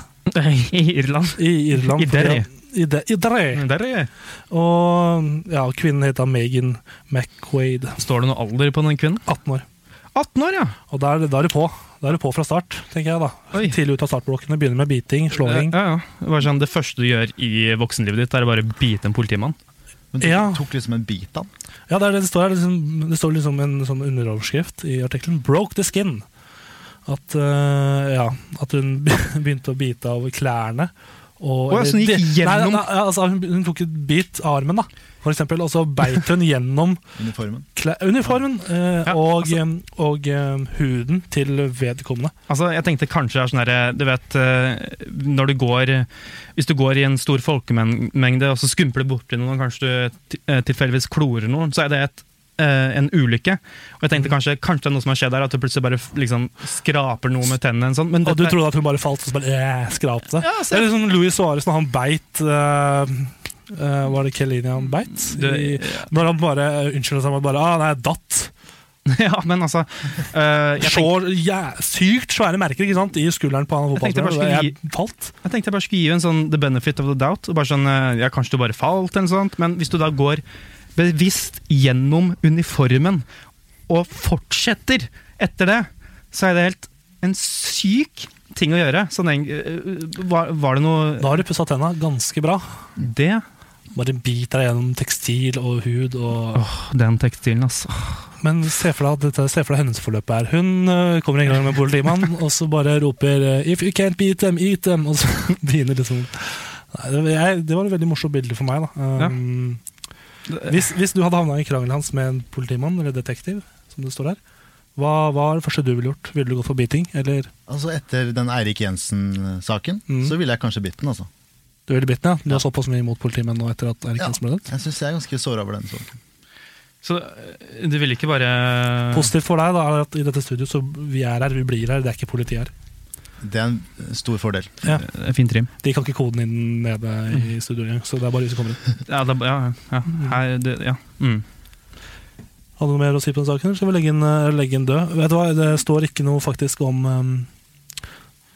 Speaker 1: I Irland.
Speaker 2: i Irland.
Speaker 1: I Derry. Mm.
Speaker 2: fordi at- I, det, i det.
Speaker 1: Der er jeg.
Speaker 2: Og ja, kvinnen heter Megan McQuaid.
Speaker 1: Står det noe alder på den kvinnen?
Speaker 2: 18 år.
Speaker 1: 18 år, ja!
Speaker 2: Og da er det- da er det på. Da er det på fra start, tenker jeg. da.
Speaker 1: Oi.
Speaker 2: Tidlig ut av startblokkene. Begynner med biting, slåing.
Speaker 1: Ja, ja. Det, var sånn, det første du gjør i voksenlivet ditt, er å bare bite en politimann.
Speaker 4: Men tok,
Speaker 2: Ja.
Speaker 4: tok liksom en bit av den.
Speaker 2: Ja, det, er det, det står her. Liksom, det står liksom en sånn underoverskrift i artikkelen. 'Broke the skin'. At, eh, ja, at hun begynte å bite av klærne. Og,
Speaker 1: Å, ja, så hun gikk
Speaker 2: de-
Speaker 1: gjennom-
Speaker 2: Nei, nei, altså, hun, hun tok et bit av armen, da, for eksempel, og så beit hun gjennom
Speaker 4: Uniformen.
Speaker 2: klær, uniformen eh,
Speaker 1: Ja,
Speaker 2: og,
Speaker 1: altså-
Speaker 2: em, og em, huden til vedkommende.
Speaker 1: Altså, jeg tenkte kanskje det er sånn derre Du vet eh, når du går Hvis du går i en stor folkemengde, og så skumper du borti noen, og kanskje du til- eh, tilfeldigvis klorer noen, så er det et eh, en ulykke. Og jeg tenkte kanskje, kanskje det er noe som har skjedd her, at du plutselig bare f- liksom skraper noe med tennene. og Sånn. Men
Speaker 2: Og du
Speaker 1: dette-
Speaker 2: trodde at hun bare falt og så bare eh, skrapte.
Speaker 1: Ja, så
Speaker 2: Det er litt sånn Louis Suárez når han beit eh, eh, Var det Kelini han beit? I,
Speaker 1: Det-
Speaker 2: når han bare unnskylder seg med bare ah, nei, jeg datt.
Speaker 1: ja, men altså eh, jeg, tenkte,
Speaker 2: Slår ja, sykt svære merker ikke sant? i skulderen på han
Speaker 1: Jeg tenkte
Speaker 2: fotballspilleren.
Speaker 1: bare skulle
Speaker 2: Jeg, falt.
Speaker 1: jeg tenkte jeg bare skulle gi en sånn the benefit of the doubt. Og bare sånn, eh, ja, Kanskje du bare falt, eller noe sånt. Men hvis du da går bevisst gjennom uniformen og fortsetter etter det, så er det helt en syk ting å gjøre. Sånn, en- eh, var, var det noe
Speaker 2: Da har du pussa tenna ganske bra.
Speaker 1: Det?
Speaker 2: Bare biter deg gjennom tekstil og hud. Og,
Speaker 1: Åh, den tekstilen, altså.
Speaker 2: Men se for deg at dette, se for deg hendelsesforløpet her. Hun eh, kommer en gang med politimannen, og så bare roper eh, 'If you can't beat them, eat them', og så begynner liksom Nei, det, jeg, det var et veldig morsomt bilde for meg. da. Um,
Speaker 1: Det-
Speaker 2: Hvis, hvis du hadde havna i krangelen hans med en politimann eller detektiv, som det står her, hva var det første du ville gjort? Ville du gått for beating, eller
Speaker 4: Altså Etter den Eirik Jensen-saken,
Speaker 2: Mm.
Speaker 4: så ville jeg kanskje bitt den. altså.
Speaker 2: du ville bitt den? Ja. Du har såpass mye imot politimenn nå etter at Erik
Speaker 4: Ja.
Speaker 2: Jensen ble dømt.
Speaker 4: Jeg syns jeg er ganske såra over den saken.
Speaker 1: Så eh, du ville ikke bare
Speaker 2: Positivt for deg da, er at i dette studio så vi er her, vi blir her, det er ikke politi her.
Speaker 4: Det er en stor fordel.
Speaker 1: Eh, Fin trim.
Speaker 2: De kan ikke koden inn nede i studio engang, så det er bare vi som kommer inn.
Speaker 1: Ja, det, ja, ja. Her, det, ja. Mm.
Speaker 2: Hadde du noe mer å si på den saken, eller skal vi legge den eh, legge den død? Vet du hva, det står ikke noe faktisk om ehm,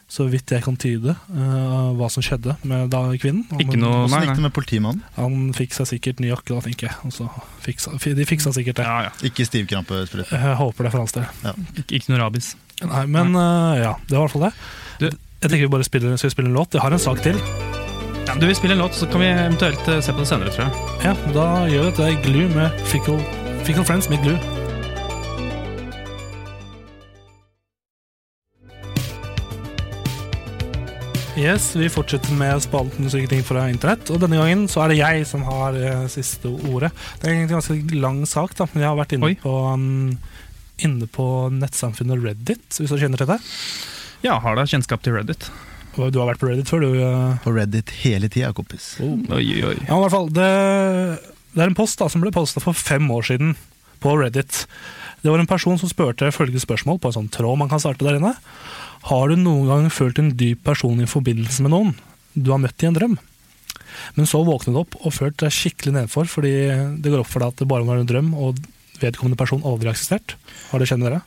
Speaker 2: så vidt jeg kan tyde, eh, hva som skjedde med da kvinnen. Om
Speaker 1: Ikke
Speaker 2: hun-
Speaker 1: noe
Speaker 4: Åssen
Speaker 1: Nei,
Speaker 4: gikk
Speaker 1: nei.
Speaker 4: det med politimannen?
Speaker 2: Han fikk seg sikkert ny jakke, da, tenker jeg. Og så fiksa, f- de fiksa sikkert det.
Speaker 1: Ja, ja.
Speaker 4: Ikke stivkrampesprøyte.
Speaker 2: Jeg håper det for hans del.
Speaker 1: Ikke, ikke noe rabis.
Speaker 2: Nei, men øh, ja, det var i hvert fall det.
Speaker 1: Du-
Speaker 2: jeg tenker vi bare spiller, skal vi spille en låt. Jeg har en sak til.
Speaker 1: Ja, men du vil spille en låt, så kan vi eventuelt eh, se på det senere, tror jeg.
Speaker 2: Ja, Da gjør vi dette. Glue med Fickle, Fickle Friends med Glue. Yes, Vi fortsetter med spalten syke ting fra internett. Og denne gangen så er det jeg som har eh, siste ordet. Det er egentlig en ganske lang sak, da, men jeg har vært inne
Speaker 1: Oi.
Speaker 2: på um, Inne på nettsamfunnet Reddit, hvis du kjenner til det.
Speaker 1: Ja, har da kjennskap til Reddit.
Speaker 2: Og Du har vært på Reddit før, du. eh,
Speaker 4: På Reddit hele tida, kompis.
Speaker 1: Oi, oi, oi.
Speaker 2: Ja, i hvert fall, det, det er en post da, som ble posta for fem år siden på Reddit. Det var en person som spurte følgende spørsmål på en sånn tråd man kan starte der inne. Har du noen gang følt en dyp person i forbindelse med noen du har møtt i en drøm? Men så våknet du opp og følte deg skikkelig nedfor fordi det går opp for deg at det bare var en drøm, og vedkommende person aldri har eksistert. Har det skjedd med dere?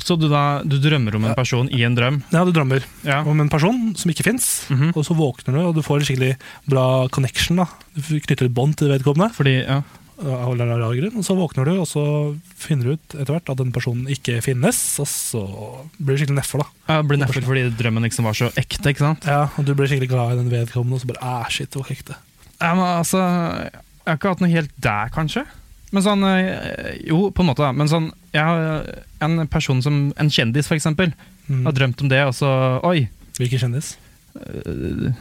Speaker 1: Så du, da, du drømmer om en person i en drøm?
Speaker 2: Ja, du drømmer
Speaker 1: Ja.
Speaker 2: om en person som ikke fins,
Speaker 1: Mhm.
Speaker 2: og så våkner du, og du får en skikkelig bra connection. da. Du knytter et bånd til vedkommende.
Speaker 1: Fordi, ja.
Speaker 2: av en eller annen rar grunn, og så våkner du, og så finner du ut etter hvert at den personen ikke finnes, og så blir du skikkelig nedfor, da.
Speaker 1: Jeg ble nedfor fordi drømmen liksom var så ekte, ikke sant?
Speaker 2: Ja, og du blir skikkelig glad i den vedkommende, og så bare æh, shit, det var ikke ekte.
Speaker 1: Ja, men altså, jeg har ikke hatt noe helt der, kanskje. Men sånn, eh, jo, på en måte, da. Men sånn, jeg har en person som, en kjendis for eksempel,
Speaker 2: Mm.
Speaker 1: har drømt om det, og så, oi, eh,
Speaker 2: Hvilken kjendis?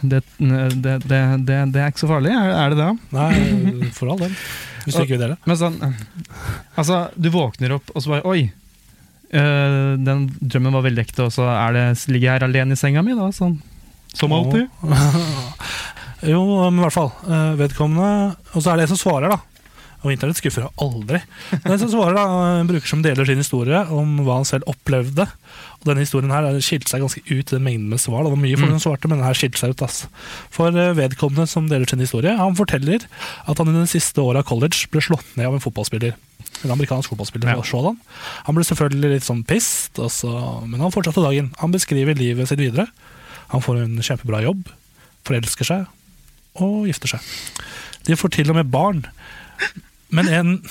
Speaker 1: det, det, det, det, det er ikke så farlig, er er det det?
Speaker 2: Nei, for all del. Hvis du ikke vil dele.
Speaker 1: Men sånn, altså, du våkner opp, og så bare, oi, eh, den drømmen var veldig ekte, og så er det, ligger jeg her alene i senga mi, da, sånn. Som alltid.
Speaker 2: Jo, men i hvert fall. eh, Vedkommende Og så er det en som svarer, da. Og internett skuffer jo aldri. Men en som svarer da, en bruker som deler sin historie om hva han selv opplevde. Og denne historien her eh, skilte seg ganske ut i den mengden med svar. da. Det var mye folk som svarte, men den her skilte seg ut. ass. For eh, vedkommende som deler sin historie, han forteller at han i den siste året av college ble slått ned av en fotballspiller. En amerikansk fotballspiller.
Speaker 1: Ja.
Speaker 2: Ja. Sådan. Han ble selvfølgelig litt sånn pissed, og så- men han fortsatte dagen. Han beskriver livet sitt videre. Han får en kjempebra jobb, forelsker seg, og gifter seg. De får til og med barn. Men en,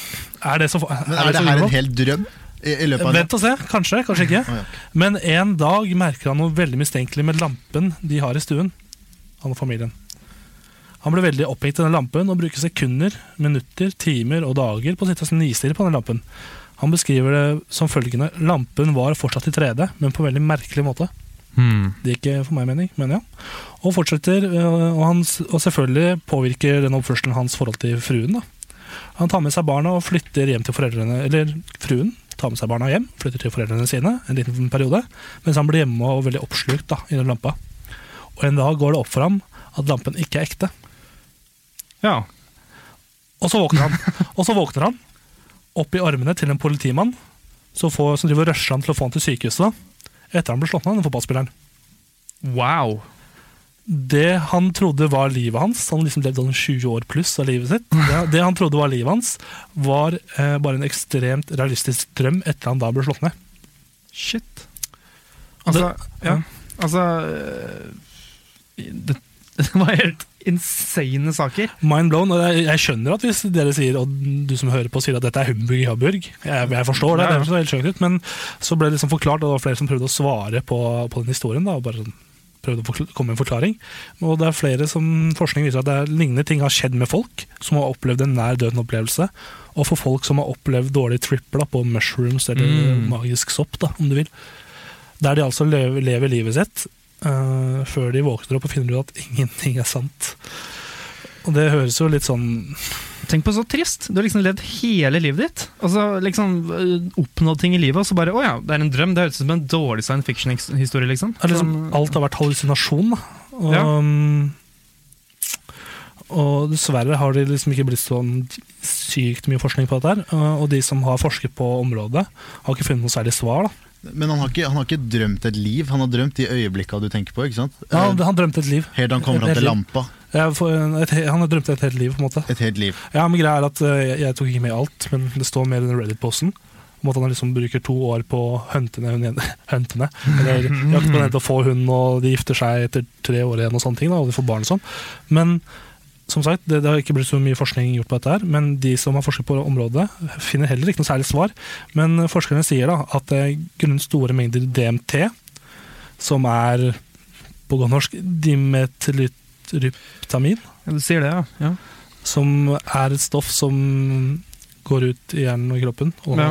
Speaker 2: er det så
Speaker 4: Men er
Speaker 2: så
Speaker 4: det her
Speaker 2: unormalt?
Speaker 4: en hel drøm? I, i løpet av natt?
Speaker 2: Vent og se. Kanskje, kanskje ikke.
Speaker 4: Å, ja.
Speaker 2: Men en dag merker han noe veldig mistenkelig med lampen de har i stuen. Han og familien. Han blir veldig opphengt i den lampen og bruker sekunder, minutter, timer og dager på å sitte og nistirre på den lampen. Han beskriver det som følgende Lampen var fortsatt i 3D, men på en veldig merkelig måte.
Speaker 6: Hmm.
Speaker 2: Det gir ikke for meg mening, men ja. Og fortsetter, øh, og, hans, og selvfølgelig påvirker den oppførselen hans forhold til fruen. da. Han tar med seg barna og flytter hjem til foreldrene, eller fruen tar med seg barna hjem, flytter til foreldrene sine en liten periode, mens han blir hjemme og veldig oppslukt da, i den lampa. Og en dag går det opp for ham at lampen ikke er ekte.
Speaker 1: Ja.
Speaker 2: Og så våkner han. Og så våkner han opp i armene til en politimann som, får, som driver og rusher han til å få han til sykehuset da, etter han ble slått ned, den fotballspilleren.
Speaker 1: Wow.
Speaker 2: det han trodde var livet hans, han liksom levde sånn 20 år pluss av livet sitt, det, det han trodde var livet hans, var eh, bare en ekstremt realistisk drøm etter han da ble slått ned.
Speaker 1: Shit. Altså, ja. Altså øh, det, det var helt insane saker.
Speaker 2: Mind blown. Og jeg, jeg skjønner at hvis dere sier, og du som hører på sier at dette er humbug i Hamburg, jeg, jeg forstår det,
Speaker 1: Ja, ja.
Speaker 2: det er helt skjønt ut, men så ble det liksom forklart, og det var flere som prøvde å svare på, på den historien, da, og bare sånn prøvde å forkl- komme med en forklaring. Og det er flere som forskning viser at det er lignende ting har skjedd med folk som har opplevd en nær døden opplevelse, og for folk som har opplevd dårlig triple da, på mushrooms eller
Speaker 6: Mm.
Speaker 2: magisk sopp, da, om du vil. Der de altså lever, lever livet sitt eh, før de våkner opp og finner ut at ingenting er sant. Og det høres jo litt sånn
Speaker 1: Tenk på så trist. Du har liksom levd hele livet ditt. Altså, liksom øh, Oppnådd ting i livet, og så bare Å ja, det er en drøm. Det høres ut som en dårlig science fiction-historie, liksom.
Speaker 2: Det er liksom,
Speaker 1: Sånn-
Speaker 2: Alt har vært hallusinasjon. da. Og,
Speaker 1: Ja.
Speaker 2: og dessverre har det liksom ikke blitt sånn sykt mye forskning på dette. her, Og de som har forsket på området, har ikke funnet noe særlig svar. da.
Speaker 4: Men han har, ikke, han har ikke drømt et liv, han har drømt de øyeblikka du tenker på. ikke sant?
Speaker 2: Ja,
Speaker 4: Eh,
Speaker 2: han drømte et liv.
Speaker 4: Helt til han kommer
Speaker 2: et
Speaker 4: han til
Speaker 2: liv.
Speaker 4: lampa.
Speaker 2: Jeg, får- et, he- han drømte et helt liv, på en måte.
Speaker 4: Et helt liv.
Speaker 2: Ja, men greia er at eh, jeg, jeg tok ikke med alt, men det står mer i den Reddit-posten. Om at han liksom bruker to år på å hunte ned hun ene. hunte ned, Eller jakte på den til å få hund, og de gifter seg etter tre år igjen, og sånne ting, da, og de får barn og sånn. Men som sagt, det, det har ikke blitt så mye forskning gjort på dette, her, men de som har forsket på området, finner heller ikke noe særlig svar. Men eh, forskerne sier da at eh, grunnet store mengder DMT, som er på godt norsk dimetryptamin
Speaker 1: Ja, du sier det, ja. ja.
Speaker 2: som er et stoff som går ut i hjernen og i kroppen, og
Speaker 1: Ja.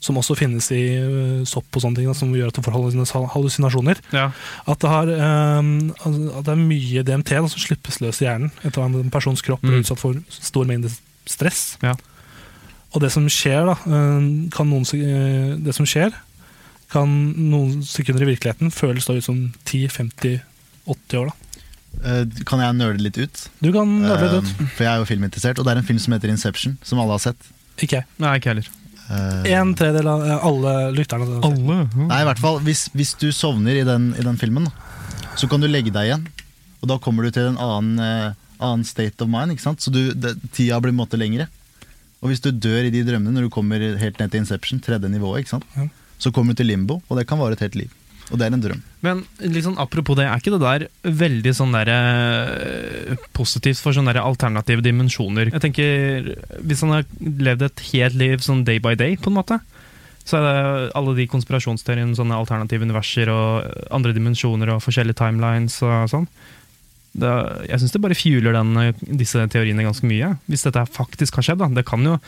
Speaker 2: som også finnes i eh, sopp og sånne ting, da, som gjør at du får hallusina- hallusinasjoner.
Speaker 1: ja.
Speaker 2: At det, har, eh, altså, at det er mye DMT da, som slippes løs i hjernen etter at en persons kropp blir
Speaker 1: Mm.
Speaker 2: utsatt for stor mengde stress.
Speaker 1: Ja.
Speaker 2: Og det som skjer, da, eh, kan noen, sek- eh, det som skjer, kan noen sekunder i virkeligheten føles da ut som 10, 50, 80 år. Da.
Speaker 4: Eh, Kan jeg nøle litt ut?
Speaker 2: Du kan nøle litt ut.
Speaker 4: Eh, for jeg er jo filminteressert, og det er en film som heter Inception, som alle har sett.
Speaker 2: Ikke jeg.
Speaker 1: Nei, ikke heller.
Speaker 4: Eh,
Speaker 2: En tredjedel av eh, alle lytterne.
Speaker 1: Alle?
Speaker 4: Nei, i hvert fall, hvis, hvis du sovner i den, i den filmen, da, så kan du legge deg igjen. Og da kommer du til en annen, eh, annen state of mind, ikke sant? så du, det, tida blir en måte lengre. Og hvis du dør i de drømmene når du kommer helt ned til Inception, tredje nivået, ikke sant?
Speaker 2: Ja.
Speaker 4: så kommer du til limbo, og det kan vare et helt liv. Og det er en drøm.
Speaker 1: Men liksom, apropos det, er ikke det der veldig sånn der, eh, positivt for sånne der alternative dimensjoner? Jeg tenker, Hvis han har levd et helt liv sånn day by day, på en måte, så er det alle de konspirasjonsteoriene, sånne alternative universer og eh, andre dimensjoner og forskjellige timelines og sånn. Det, jeg syns det bare fjuler den, eh, disse teoriene ganske mye. Hvis dette her faktisk har skjedd, da. Det kan jo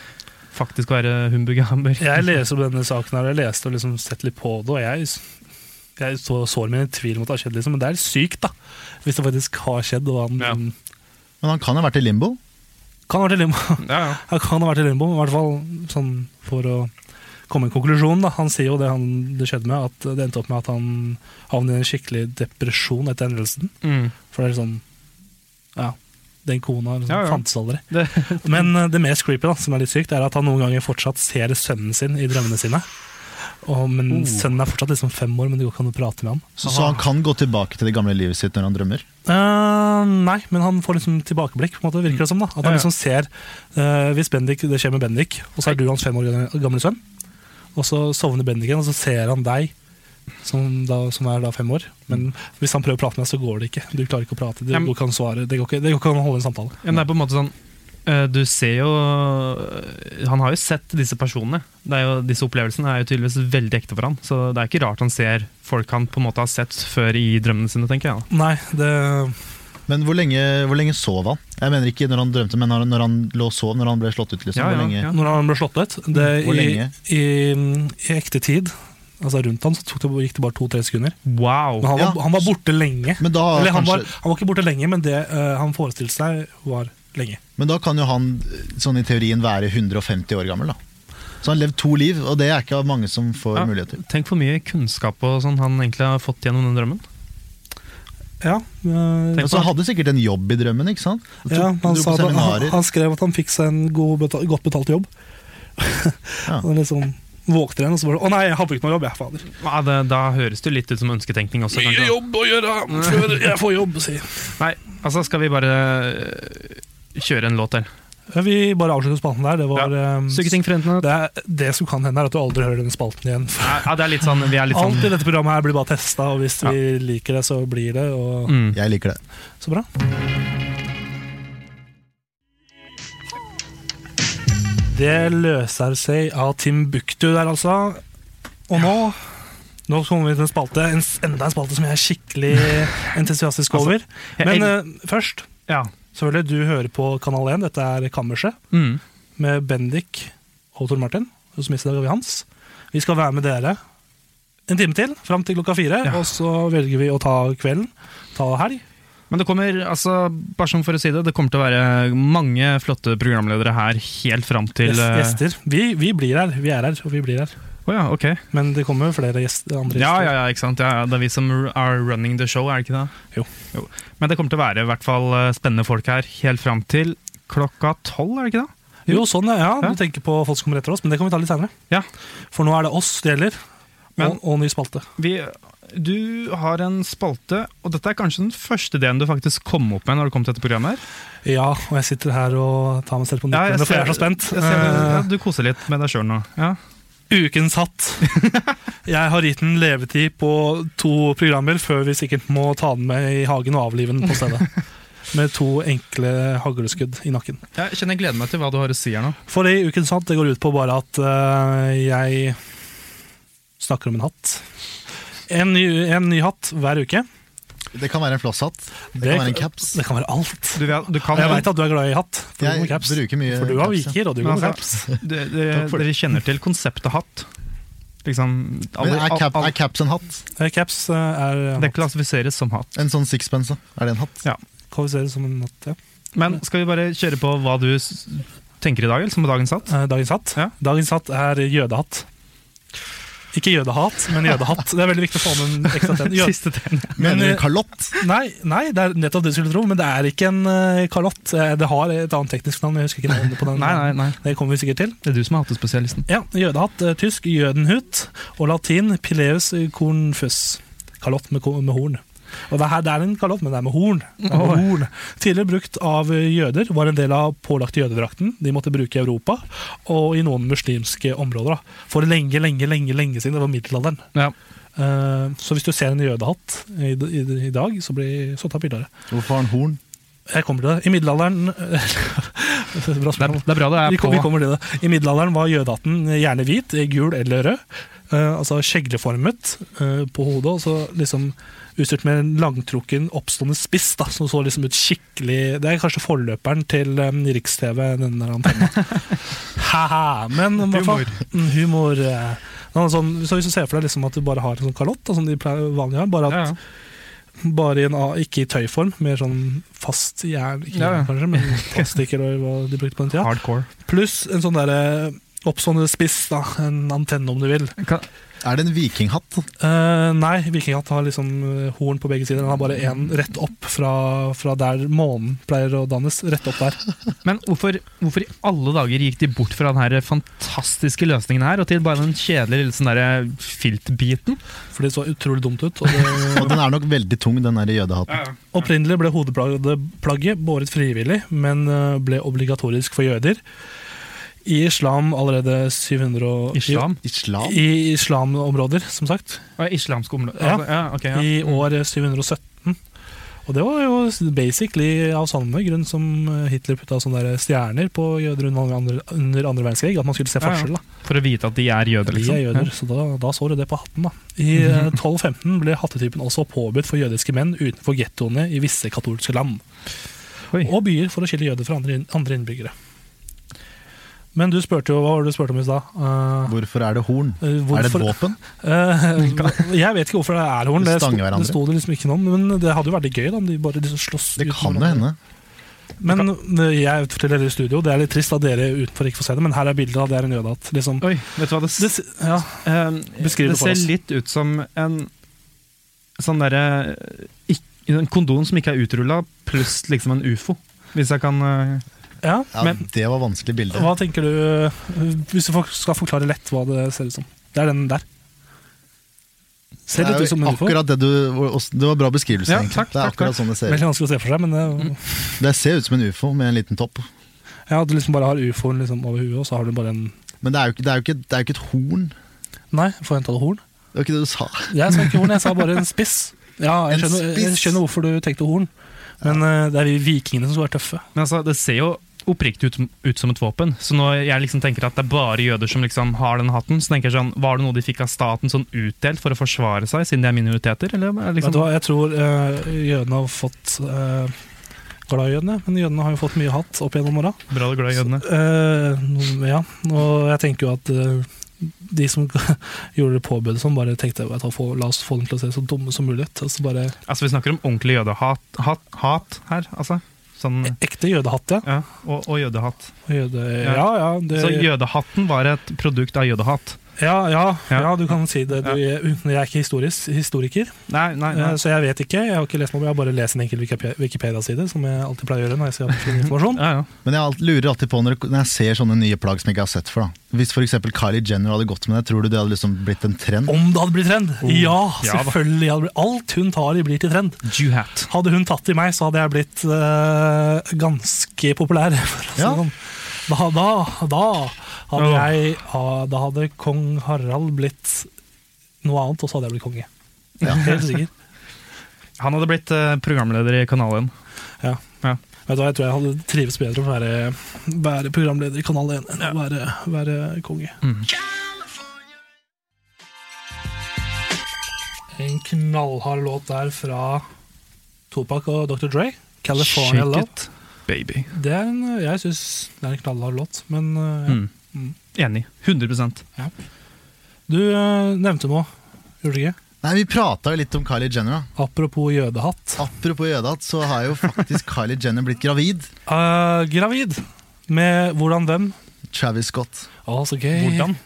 Speaker 1: faktisk være humbug og hamburg.
Speaker 2: Jeg leser om denne saken her, og jeg leste og liksom sett litt på det, og jeg, jeg så, sår mine tvil om at det har skjedd, liksom, men det er sykt, da. Hvis det faktisk har skjedd. Og han,
Speaker 1: Ja.
Speaker 4: Men han kan ha vært i limbo.
Speaker 2: kan ha vært i limbo.
Speaker 1: Ja, ja.
Speaker 2: Han kan ha vært i limbo, i hvert fall sånn for å komme med en konklusjon. Da. Han sier jo det han, det skjedde med, at det endte opp med at han havnet i en skikkelig depresjon etter hendelsen.
Speaker 1: Mm.
Speaker 2: For det er sånn Ja. Den kona liksom,
Speaker 1: Ja, ja.
Speaker 2: fantes aldri.
Speaker 1: Det,
Speaker 2: Men eh, det mest creepy, da, som er litt sykt, er at han noen ganger fortsatt ser sønnen sin i drømmene sine. Og, men
Speaker 1: Oh.
Speaker 2: sønnen er fortsatt liksom fem år, men det går ikke an å prate med han.
Speaker 4: Så, så han kan gå tilbake til det gamle livet sitt når han drømmer.
Speaker 2: Eh, nei, men han får liksom tilbakeblikk, på en måte, virker det som. da At
Speaker 1: Ja,
Speaker 2: han
Speaker 1: ja.
Speaker 2: liksom ser eh, Hvis Bendik, det skjer med Bendik, og så er du hans fem år gamle gamle sønn, og så sovner Bendiken, og så ser han deg som, da, som er da fem år. Men hvis han prøver å prate med deg, så går det ikke. Du klarer ikke å prate, det
Speaker 1: Ja, men-
Speaker 2: går ikke an å svare, det går ikke, det går ikke an å holde en samtale.
Speaker 1: Ja, men det er på en måte sånn eh, Du ser jo eh, Han har jo sett disse personene. Det er jo, disse opplevelsene er jo tydeligvis veldig ekte for han Så det er ikke rart han ser folk han på en måte har sett før i drømmene sine, tenker jeg. da.
Speaker 2: Nei, det
Speaker 4: Men hvor lenge, hvor lenge sov han? Jeg mener ikke når han drømte, men når han, når han lå og sov, når han ble slått ut. Liksom.
Speaker 1: Ja,
Speaker 4: hvor
Speaker 1: ja,
Speaker 4: lenge?
Speaker 1: ja.
Speaker 2: Når han ble slått ned det,
Speaker 4: Mm. Hvor
Speaker 2: i,
Speaker 4: lenge?
Speaker 2: i, I ekte tid, altså rundt han, så tok det, gikk det bare to-tre sekunder.
Speaker 1: Wow!
Speaker 2: Men han var,
Speaker 4: Ja.
Speaker 2: han var borte lenge.
Speaker 4: Men, da,
Speaker 2: Eller han
Speaker 4: kanskje,
Speaker 2: var, han var ikke borte lenge, men det eh, han forestilte seg, var lenge.
Speaker 4: men da kan jo han sånn i teorien være 150 år gammel. Da. Så han har levd to liv, og det er ikke mange som får
Speaker 1: Ja.
Speaker 4: mulighet til.
Speaker 1: Tenk hvor mye kunnskap og sånn han egentlig har fått gjennom den drømmen.
Speaker 2: Ja, eh,
Speaker 1: Tenk
Speaker 4: Altså, han hadde sikkert en jobb i drømmen, ikke sant? Og
Speaker 2: ja han,
Speaker 4: tok- dro
Speaker 2: sa
Speaker 4: på
Speaker 2: at, han,
Speaker 4: seminarer.
Speaker 2: han skrev at han fikk seg en god beta- godt betalt jobb.
Speaker 4: Ja.
Speaker 2: Og liksom våkner igjen, og så bare Å nei, jeg hadde ikke noe jobb, jeg, fader.
Speaker 1: Ja, det, da høres det jo litt ut som ønsketenkning også. kanskje.
Speaker 2: jobb å gjøre før jeg får jobb, sier
Speaker 1: Nei, altså skal vi bare øh, kjøre en låt til.
Speaker 2: Vi bare avslutter spalten der. Det var eh,
Speaker 1: Stygge ting for jentene.
Speaker 2: det, er, det som kan hende, er at du aldri hører denne spalten igjen.
Speaker 1: Ja, det er litt sånn, vi er litt sånn
Speaker 2: Alt i dette programmet her blir bare testa, og hvis vi liker det, så blir det. Og,
Speaker 1: mm.
Speaker 4: Jeg liker det.
Speaker 2: Så bra. Det løser seg av Timbuktu der, altså. Og nå nå kommer vi til en spalte, en, enda en spalte som jeg er skikkelig entusiastisk
Speaker 1: Altså,
Speaker 2: over.
Speaker 1: jeg-
Speaker 2: Men
Speaker 1: jeg-
Speaker 2: eh, først,
Speaker 1: Ja.
Speaker 2: selvfølgelig, du hører på Kanal 1. Dette er Kammerset
Speaker 1: Mm.
Speaker 2: med Bendik og Tor Martin. Og så mister vi Hans. Vi skal være med dere en time til, fram til klokka fire.
Speaker 1: Ja.
Speaker 2: Og så velger vi å ta kvelden, ta helg.
Speaker 1: Men det kommer, altså, bare som for å si det, det kommer til å være mange flotte programledere her helt fram til
Speaker 2: Gjes-
Speaker 1: øh,
Speaker 2: Gjester. Vi, vi blir her. Vi er her, og vi blir her.
Speaker 1: Å ja, ok.
Speaker 2: Men det kommer jo flere gjester, andre
Speaker 1: Ja, ja,
Speaker 2: gjester.
Speaker 1: ja, ikke sant. Ja, ja, det er vi som are running the show, er det ikke det?
Speaker 2: Jo.
Speaker 1: Men det kommer til å være i hvert fall øh, spennende folk her helt fram til klokka tolv, er det ikke det?
Speaker 2: Jo, sånn, ja. ja.
Speaker 1: Ja.
Speaker 2: Du tenker på folk som kommer etter oss, men det kan vi ta litt senere.
Speaker 1: Ja.
Speaker 2: For nå er det oss det gjelder,
Speaker 1: Men-
Speaker 2: og, og ny spalte.
Speaker 1: Vi, du har en spalte, og dette er kanskje den første ideen du faktisk kom opp med når du kom til dette programmet. her.
Speaker 2: Ja, og jeg sitter her og tar meg selv på
Speaker 1: Ja,
Speaker 2: nyttene,
Speaker 1: jeg
Speaker 2: for jeg er
Speaker 1: ser-
Speaker 2: så spent.
Speaker 1: Jeg ser, Eh, ja, du koser litt med deg sjøl nå. Ja.
Speaker 2: Eh, ukens hatt. Jeg har gitt den levetid på to programmer før vi sikkert må ta den med i hagen og avlive den på stedet. Med to enkle hagleskudd i nakken.
Speaker 1: Jeg kjenner jeg gleder meg til hva du har å si her nå.
Speaker 2: For i Ukens hatt, det går ut på bare at eh, jeg snakker om en hatt. En ny, en ny hatt hver uke.
Speaker 4: Det kan være en flosshatt. Det,
Speaker 2: Det
Speaker 4: kan være en
Speaker 2: kan-
Speaker 4: caps.
Speaker 2: Det kan være alt.
Speaker 1: Du, vet- du kan,
Speaker 2: Og jeg veit at du er glad i hatt. For du går
Speaker 4: Jeg
Speaker 2: med caps.
Speaker 4: bruker mye
Speaker 2: For du har
Speaker 4: caps, ja.
Speaker 2: viker, og du
Speaker 1: Men
Speaker 2: går med
Speaker 1: altså-
Speaker 2: caps.
Speaker 1: dere, dere,
Speaker 4: Takk for det.
Speaker 1: dere kjenner til konseptet hatt. Liksom, alle-
Speaker 4: Men er, cap,
Speaker 1: alle-
Speaker 4: er caps en hatt?
Speaker 2: Eh, Caps eh, er
Speaker 1: det klassifiseres som hatt.
Speaker 4: En sånn sixpence, da. er det en hatt?
Speaker 2: kvalifiseres som en hatt. Ja.
Speaker 1: Men skal vi bare kjøre på hva du s- tenker i dag, eller som er dagens hatt?
Speaker 2: Eh, Dagens hatt
Speaker 1: Ja.
Speaker 2: Dagens hatt er jødehatt. Ikke jødehat, men jødehatt. Det er veldig viktig å få med en ekstra ten. Jød...
Speaker 1: Siste tegn.
Speaker 2: Men,
Speaker 4: Mener
Speaker 2: eh,
Speaker 4: du kalott?
Speaker 2: Nei, nei, det er nettopp det du skulle tro, men det er ikke en eh, kalott. Eh, Det har et annet teknisk navn, men jeg husker ikke navnet på den.
Speaker 1: Nei, nei, nei.
Speaker 2: Det kommer vi sikkert til.
Speaker 1: Det er du som er hattespesialisten.
Speaker 2: Ja, jødehatt, eh, tysk, jødenhut, og latin, pileus cornfus. Kalott med, ko- med horn. Og det, her, det er en kalott, men det er med horn. Det er med
Speaker 1: Oi.
Speaker 2: horn. Tidligere brukt av eh, jøder, var en del av pålagte jødedrakten de måtte bruke i Europa, og i noen muslimske områder. Da. For lenge, lenge, lenge lenge siden, det var middelalderen.
Speaker 1: Ja.
Speaker 2: Eh, så hvis du ser en jødehatt i, i, i dag, så blir så ta bilde av det.
Speaker 4: Hvorfor har han horn?
Speaker 2: Jeg kommer til det. I middelalderen Bra
Speaker 1: Det er,
Speaker 2: spørsmål.
Speaker 1: det er bra det
Speaker 2: Vi,
Speaker 1: er
Speaker 2: kom, vi
Speaker 1: på.
Speaker 2: kommer til det. I middelalderen var jødehatten gjerne hvit, gul eller rød. Eh, altså skjegleformet eh, på hodet, og så liksom utstyrt med en langtrukken, oppstående spiss, da, som så liksom ut skikkelig Det er kanskje forløperen til um, Riks-TV, den der antenna. Haha, Men i hvert fall mm, humor. eh. Nå, sånn, så hvis du ser for deg liksom at du bare har en sånn kalott, da, som de pleier vanlig har, bare,
Speaker 1: Ja,
Speaker 2: at,
Speaker 1: ja.
Speaker 2: bare i en, a- ikke i tøyform, mer sånn fast jern, ikke
Speaker 1: Ja, ja.
Speaker 2: jern kanskje, men plastikker og hva de brukte på den tida.
Speaker 1: Hardcore.
Speaker 2: Pluss en sånn derre oppstående spiss, da. En antenne, om du vil.
Speaker 1: Kan,
Speaker 4: Er det en vikinghatt?
Speaker 2: Eh, nei, vikinghatt har liksom eh, horn på begge sider. Den har bare én rett opp fra, fra der månen pleier å dannes. Rett opp der.
Speaker 1: Men hvorfor, hvorfor i alle dager gikk de bort fra den her fantastiske løsningen her, og til bare den kjedelige lille sånn derre filtbiten?
Speaker 2: For det så utrolig dumt ut. Og det,
Speaker 4: Og den er nok veldig tung, den der jødehatten.
Speaker 2: opprinnelig ble hodeplagget plagget båret frivillig, men eh, ble obligatorisk for jøder. I islam allerede 700 og,
Speaker 1: Islam?
Speaker 4: Islam?
Speaker 2: I, i islamområder, som sagt.
Speaker 1: Å, islamsk område.
Speaker 2: Ja.
Speaker 1: Altså, ja, ok, ja.
Speaker 2: I år 717. Og det var jo basically av samme grunn som Hitler putta sånne der stjerner på jøder under andre, under andre verdenskrig. At man skulle se
Speaker 1: Ja, ja.
Speaker 2: forskjell. da
Speaker 1: For å vite at de er jøder, liksom.
Speaker 2: De er jøder, så da, da så du det på hatten. da. I eh, 1215 ble hattetypen også påbudt for jødiske menn utenfor gettoene i visse katolske land.
Speaker 1: Oi.
Speaker 2: Og byer for å skille jøder fra andre, inn- andre innbyggere. Men du spurte jo, hva var det du spurte om i stad? Eh,
Speaker 4: Hvorfor er det horn?
Speaker 2: eh,
Speaker 4: Er det et
Speaker 2: hvorfor-
Speaker 4: våpen?
Speaker 2: Eh, jeg vet ikke hvorfor det er horn.
Speaker 4: De
Speaker 2: Det, sto-
Speaker 4: stanger hverandre.
Speaker 2: det sto det liksom ikke noe om. Men det hadde jo vært litt gøy da, om de bare liksom slåss.
Speaker 4: Det
Speaker 2: uten
Speaker 4: kan jo
Speaker 2: hverandre.
Speaker 4: hende.
Speaker 2: Men eh, jeg forteller dere i studio, det er litt trist at dere utenfor ikke får se det, men her er bildet av det er en jødehatt. Liksom.
Speaker 1: Oi, vet du hva det, s-
Speaker 2: Det, s- ja,
Speaker 1: ehm,
Speaker 2: beskriv
Speaker 1: det
Speaker 2: det for
Speaker 1: ser
Speaker 2: oss.
Speaker 1: litt ut som en sånn derre eh, ikk- En kondom som ikke er utrulla, pluss liksom en ufo. Hvis jeg kan eh,
Speaker 2: ja.
Speaker 4: Ja,
Speaker 1: Men-
Speaker 4: det var vanskelig bilde.
Speaker 2: Hva tenker du, eh, hvis du for- skal forklare lett hva det ser ut som? Det er den der. Ser litt ut som en ufo.
Speaker 4: akkurat det du Det var bra beskrivelse,
Speaker 1: Ja,
Speaker 4: egentlig.
Speaker 1: takk,
Speaker 4: det er
Speaker 1: takk,
Speaker 4: akkurat
Speaker 1: takk.
Speaker 4: sånn det ser ut. Mm.
Speaker 2: Veldig vanskelig å se for seg, men det,
Speaker 4: Det ser ut som en ufo med en liten topp.
Speaker 2: ja, du liksom bare har ufoen liksom over huet, og så har du bare en
Speaker 4: Men det er jo ikke, det er jo ikke, det er jo ikke et horn.
Speaker 2: Nei, forventa du horn?
Speaker 4: Det var ikke det du sa.
Speaker 2: Jeg sa ikke horn, jeg sa bare en spiss. Ja, jeg
Speaker 4: En
Speaker 2: skjønner, jeg
Speaker 4: spiss.
Speaker 2: skjønner hvorfor du tenkte horn, men eh, det er vi vikingene som skal være tøffe.
Speaker 1: Men altså, det ser jo oppriktig ut, ut som et våpen. Så når jeg liksom tenker at det er bare jøder som liksom har den hatten, så tenker jeg sånn Var det noe de fikk av staten sånn utdelt for å forsvare seg, siden de er minoriteter? Eller er det
Speaker 2: Vet
Speaker 1: liksom
Speaker 2: du hva, jeg tror eh, jødene har fått uh, glad i jødene, men jødene har jo fått mye hatt opp gjennom åra.
Speaker 1: bra du er glad i jødene?
Speaker 2: Eh, noen- ja, og jeg tenker jo at eh, de som gjorde det påbudet sånn, bare tenkte vet du hva, få- la oss få dem til å se så dumme som mulig ut. Altså bare
Speaker 1: Altså, vi snakker om ordentlig jødehat hat, hat her, altså. Sånn
Speaker 2: ekte jødehatt, ja.
Speaker 1: Ja, og, og jødehatt.
Speaker 2: Jøde, ja, ja, det,
Speaker 1: Så jødehatten var et produkt av jødehat?
Speaker 2: ja, ja,
Speaker 1: Ja.
Speaker 2: ja, du kan si det. Du, jeg, uten- jeg er ikke historis, historiker,
Speaker 1: Nei, nei,
Speaker 2: eh,
Speaker 1: nei.
Speaker 2: så jeg vet ikke. Jeg har ikke lest noe, men jeg har bare lest en enkel Wikipe- Wikipedia-side, som jeg alltid pleier å gjøre når jeg skal finne informasjon.
Speaker 1: Ja, ja.
Speaker 4: Men jeg alt- lurer alltid på når, når jeg ser sånne nye plagg som jeg ikke har sett før. da Hvis f.eks. Kylie Jenner hadde gått med det, tror du det hadde liksom blitt en trend?
Speaker 2: Om det hadde blitt trend! Ja,
Speaker 1: Oh, Ja da.
Speaker 2: selvfølgelig! hadde blitt- Alt hun tar i, blir til trend.
Speaker 1: Jewhat.
Speaker 2: Hadde hun tatt i meg, så hadde jeg blitt eh, ganske populær. for å si det
Speaker 4: Ja.
Speaker 2: sånn. Da, da, da, hadde
Speaker 1: Ja.
Speaker 2: jeg, ha- da hadde kong Harald blitt noe annet, og så hadde jeg blitt konge.
Speaker 4: Ja.
Speaker 2: Helt sikker.
Speaker 1: Han hadde blitt eh, programleder i Kanal 1.
Speaker 2: Vet du hva, Jeg tror jeg hadde trives bedre med å være, være programleder i Kanal 1 enn å være, være konge.
Speaker 1: Mm.
Speaker 2: En knallhard låt der fra Topak og Dr. Dre. 'California
Speaker 1: Shake
Speaker 2: Love'.
Speaker 1: it, baby.
Speaker 2: Det er en, jeg syns det er en knallhard låt, men eh, ja.
Speaker 1: Mm.
Speaker 2: Mm.
Speaker 1: Enig. 100
Speaker 2: Du eh, nevnte noe, gjorde du ikke?
Speaker 4: Nei, Vi prata jo litt om Kylie Jenner. da
Speaker 2: Apropos jødehatt.
Speaker 4: Apropos jødehatt, så har jo faktisk Kylie Jenner blitt gravid.
Speaker 2: Eh, gravid. Med hvordan hvem?
Speaker 4: Travis Scott.
Speaker 2: Å, så gøy.
Speaker 1: Hvordan?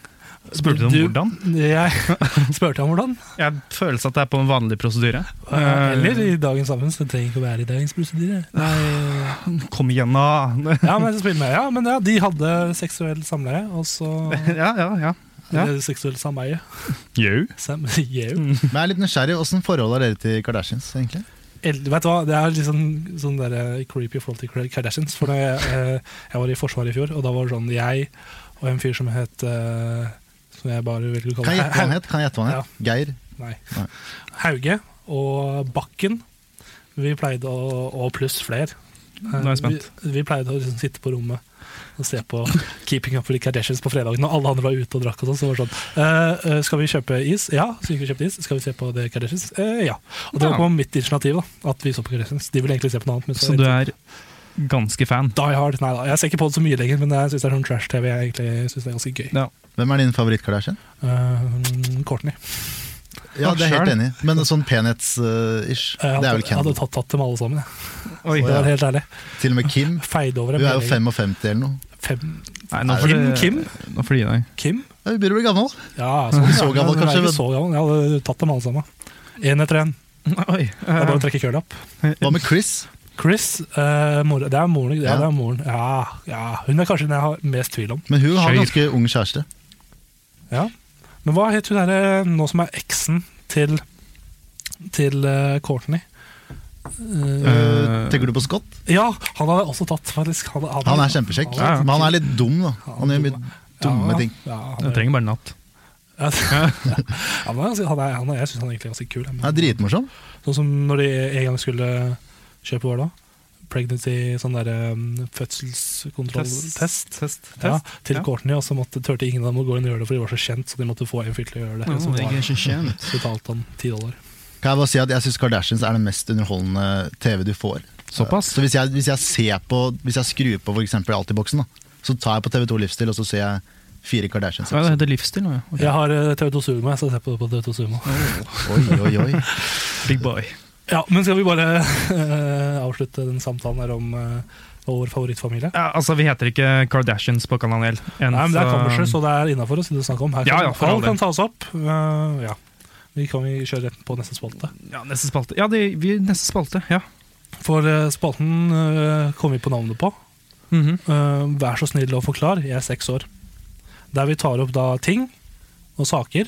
Speaker 1: Spurte du om hvordan?
Speaker 2: Jeg spurte om hvordan.
Speaker 1: Jeg føles at det er på en vanlig prosedyre.
Speaker 2: Eh, Eller i dagens samfunn, så det trenger ikke å være i dagens prosedyre. Nei.
Speaker 1: Kom igjen, da!
Speaker 2: Ja, men, så spiller med. Ja, men ja, de hadde seksuell samleie, og så
Speaker 1: ja, ja, ja. Ja.
Speaker 2: Eller seksuell sameie.
Speaker 1: Jau.
Speaker 2: Sam, yeah.
Speaker 4: Men jeg er litt nysgjerrig, Åssen forhold har dere til Kardashians? egentlig?
Speaker 2: Eld- Vet du hva, Det er litt sånn- sånn der, eh, creepy i forhold til Kar- Kardashians. For da jeg, eh, jeg var i Forsvaret i fjor, og da var det sånn jeg og en fyr som het eh, Som jeg bare vil kalle
Speaker 4: Kan jeg gjette hva han
Speaker 2: Hau-
Speaker 4: het? Kan jeg gjette hva han het? Geir?
Speaker 2: Nei.
Speaker 4: Nei.
Speaker 2: Hauge og Bakken. Vi pleide å Og pluss flere. Eh,
Speaker 1: Nå er jeg spent.
Speaker 2: Vi, vi pleide å liksom sitte på rommet og se på Keeping Up with the Kardashians på fredagen. Når alle andre var ute og drakk, og sånn, så var det sånn eh, eh, Skal vi kjøpe is? Ja. Så gikk vi og kjøpte is. Skal vi se på The Kardashians? Eh, ja. Og det
Speaker 1: Ja.
Speaker 2: var på mitt initiativ da, at vi så på Kardashians. De ville egentlig se på noe annet. Men så,
Speaker 1: Så du er ganske fan?
Speaker 2: Die Hard. Nei da. Jeg ser ikke på det så mye lenger, men jeg syns det er sånn trash-TV jeg egentlig synes det er ganske gøy.
Speaker 1: Ja.
Speaker 4: Hvem er din favoritt-Kardashian?
Speaker 2: Eh, Courtney.
Speaker 4: Ja,
Speaker 1: Ah,
Speaker 4: det er jeg helt
Speaker 1: sjøl.
Speaker 4: enig i. Men sånn penhets-ish.
Speaker 2: Jeg
Speaker 4: det er
Speaker 2: hadde,
Speaker 4: vel
Speaker 2: jeg hadde
Speaker 4: Kendal.
Speaker 2: tatt, tatt dem alle sammen, jeg.
Speaker 1: Oi.
Speaker 2: Det var helt ærlig.
Speaker 4: Til og med Kim.
Speaker 2: Feide over
Speaker 4: Hun
Speaker 2: dem.
Speaker 4: er jo
Speaker 2: hele
Speaker 4: 55 eller noe.
Speaker 2: Fem.
Speaker 1: Nei, nå får
Speaker 2: Kim,
Speaker 1: du-
Speaker 2: Kim?
Speaker 1: Nå får du gi deg.
Speaker 2: Kim?
Speaker 4: Ja, Hun begynner å bli gammel.
Speaker 2: Ja, så,
Speaker 4: Mm. Så gammel,
Speaker 2: Jeg er
Speaker 4: kanskje,
Speaker 2: ikke
Speaker 4: men-
Speaker 2: så gammel. Jeg hadde tatt dem alle sammen. Én etter én.
Speaker 1: Oi.
Speaker 2: Det er bare å
Speaker 1: eh,
Speaker 2: trekke køla opp.
Speaker 4: Hva med Chris?
Speaker 2: Chris, eh, mor, det er moren. Ja,
Speaker 4: Ja.
Speaker 2: det er moren. Ja, ja, hun er kanskje den jeg har mest tvil om.
Speaker 4: Men hun har
Speaker 1: Skjøyr.
Speaker 4: ganske ung kjæreste.
Speaker 2: Ja. Men hva het hun derre nå som er eksen til, til eh, Courtney? Eh,
Speaker 4: eh, tenker du på Scott?
Speaker 2: Ja, han hadde jeg også tatt, faktisk. Han, han-
Speaker 4: Han er kjempekjekk,
Speaker 2: Ja, ja.
Speaker 4: men han er litt dum, da. Han gjør mye dumme
Speaker 2: ja,
Speaker 4: ting.
Speaker 2: Ja, han,
Speaker 1: Jeg trenger bare natt.
Speaker 2: ja, han er, ganske- han er, han er, jeg syns han er egentlig ganske kul.
Speaker 4: Han er dritmorsom.
Speaker 2: Sånn som når de en gang skulle kjøpe hva da? Pregnancy, sånn derre um, fødselskontrolltest.
Speaker 1: Test.
Speaker 2: Test. Ja,
Speaker 1: Test.
Speaker 2: til
Speaker 1: Ja.
Speaker 2: Courtney, og så måtte, turte ingen av dem å gå inn og gjøre det, for de var så kjent, så de måtte få en fyr til å gjøre det.
Speaker 1: Ja,
Speaker 2: som
Speaker 1: det er
Speaker 2: var,
Speaker 1: ikke kjent.
Speaker 2: så betalte han 10 dollar.
Speaker 4: Kan Jeg bare si at jeg syns Kardashians er den mest underholdende TV du får.
Speaker 1: Såpass?
Speaker 4: Så hvis jeg, hvis jeg ser på Hvis jeg skrur på f.eks. Altiboksen, da, så tar jeg på TV2 Livsstil, og så ser jeg fire Kardashians.
Speaker 1: Ja, det heter livsstil nå, ja. Ok.
Speaker 2: Jeg har eh, TV2 Sumo, jeg, så jeg ser på det på TV2 Sumo.
Speaker 4: Oi, oi, oi.
Speaker 1: Big boy.
Speaker 2: Ja, men skal vi bare eh, avslutte den samtalen her om eh, vår favorittfamilie?
Speaker 1: Ja, altså, vi heter ikke Kardashians på Kanal L. ennå,
Speaker 2: Nei, men Det er
Speaker 1: så-
Speaker 2: kammerset, så det er innafor å si det snakke om. Her kan,
Speaker 1: Ja, ja, for all
Speaker 2: alt
Speaker 1: del.
Speaker 2: kan tas opp. Eh, ja. Vi kan vi kjøre rett på neste spalte.
Speaker 1: Ja, neste spalte. Ja, det, vi, neste spalte. Ja.
Speaker 2: For eh, spalten eh, kom vi på navnet på.
Speaker 1: Mhm.
Speaker 2: Eh, Vær så snill å forklare, jeg er seks år. Der vi tar opp da ting og saker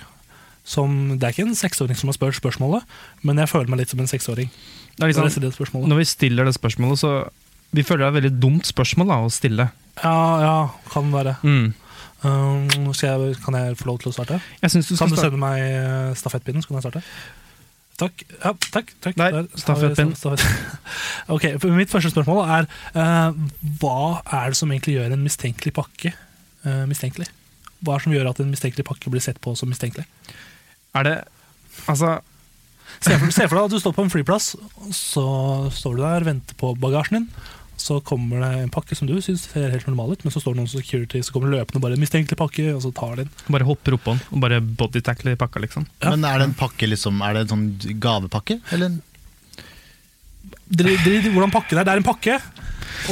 Speaker 2: som Det er ikke en seksåring som har spurt spørsmålet, men jeg føler meg litt som en seksåring.
Speaker 1: Det er
Speaker 2: når
Speaker 1: liksom,
Speaker 2: jeg stiller det spørsmålet.
Speaker 1: når vi stiller det spørsmålet, så Vi føler det er et veldig dumt spørsmål da, å stille.
Speaker 2: Ja, ja, kan være.
Speaker 1: Mm.
Speaker 2: Um, skal jeg, kan jeg få lov til å starte?
Speaker 1: Jeg synes du skal
Speaker 2: Kan du
Speaker 1: starte.
Speaker 2: sende meg eh, stafettpinnen, så kan jeg starte? Takk. Ja, takk, takk.
Speaker 1: Der,
Speaker 2: har vi
Speaker 1: stafettpinn.
Speaker 2: stafett- stafett. Ok, for Mitt første spørsmål er eh, hva er det som egentlig gjør en mistenkelig pakke eh, mistenkelig? Hva er det som gjør at en mistenkelig pakke blir sett på som mistenkelig?
Speaker 1: Er det Altså,
Speaker 2: Se for, se for deg at du står på en flyplass, og så står du der, venter på bagasjen din. Så kommer det en pakke som du syns ser helt normal ut, men så står det noen security som kommer løpende og bare 'mistenkelig pakke', og så tar de den.
Speaker 1: bare hopper oppå den og bare bodytackle i pakka, liksom.
Speaker 4: Men er det en pakke, liksom? Er det en sånn gavepakke, eller?
Speaker 2: Drit drit i hvordan pakken er. Det er en pakke,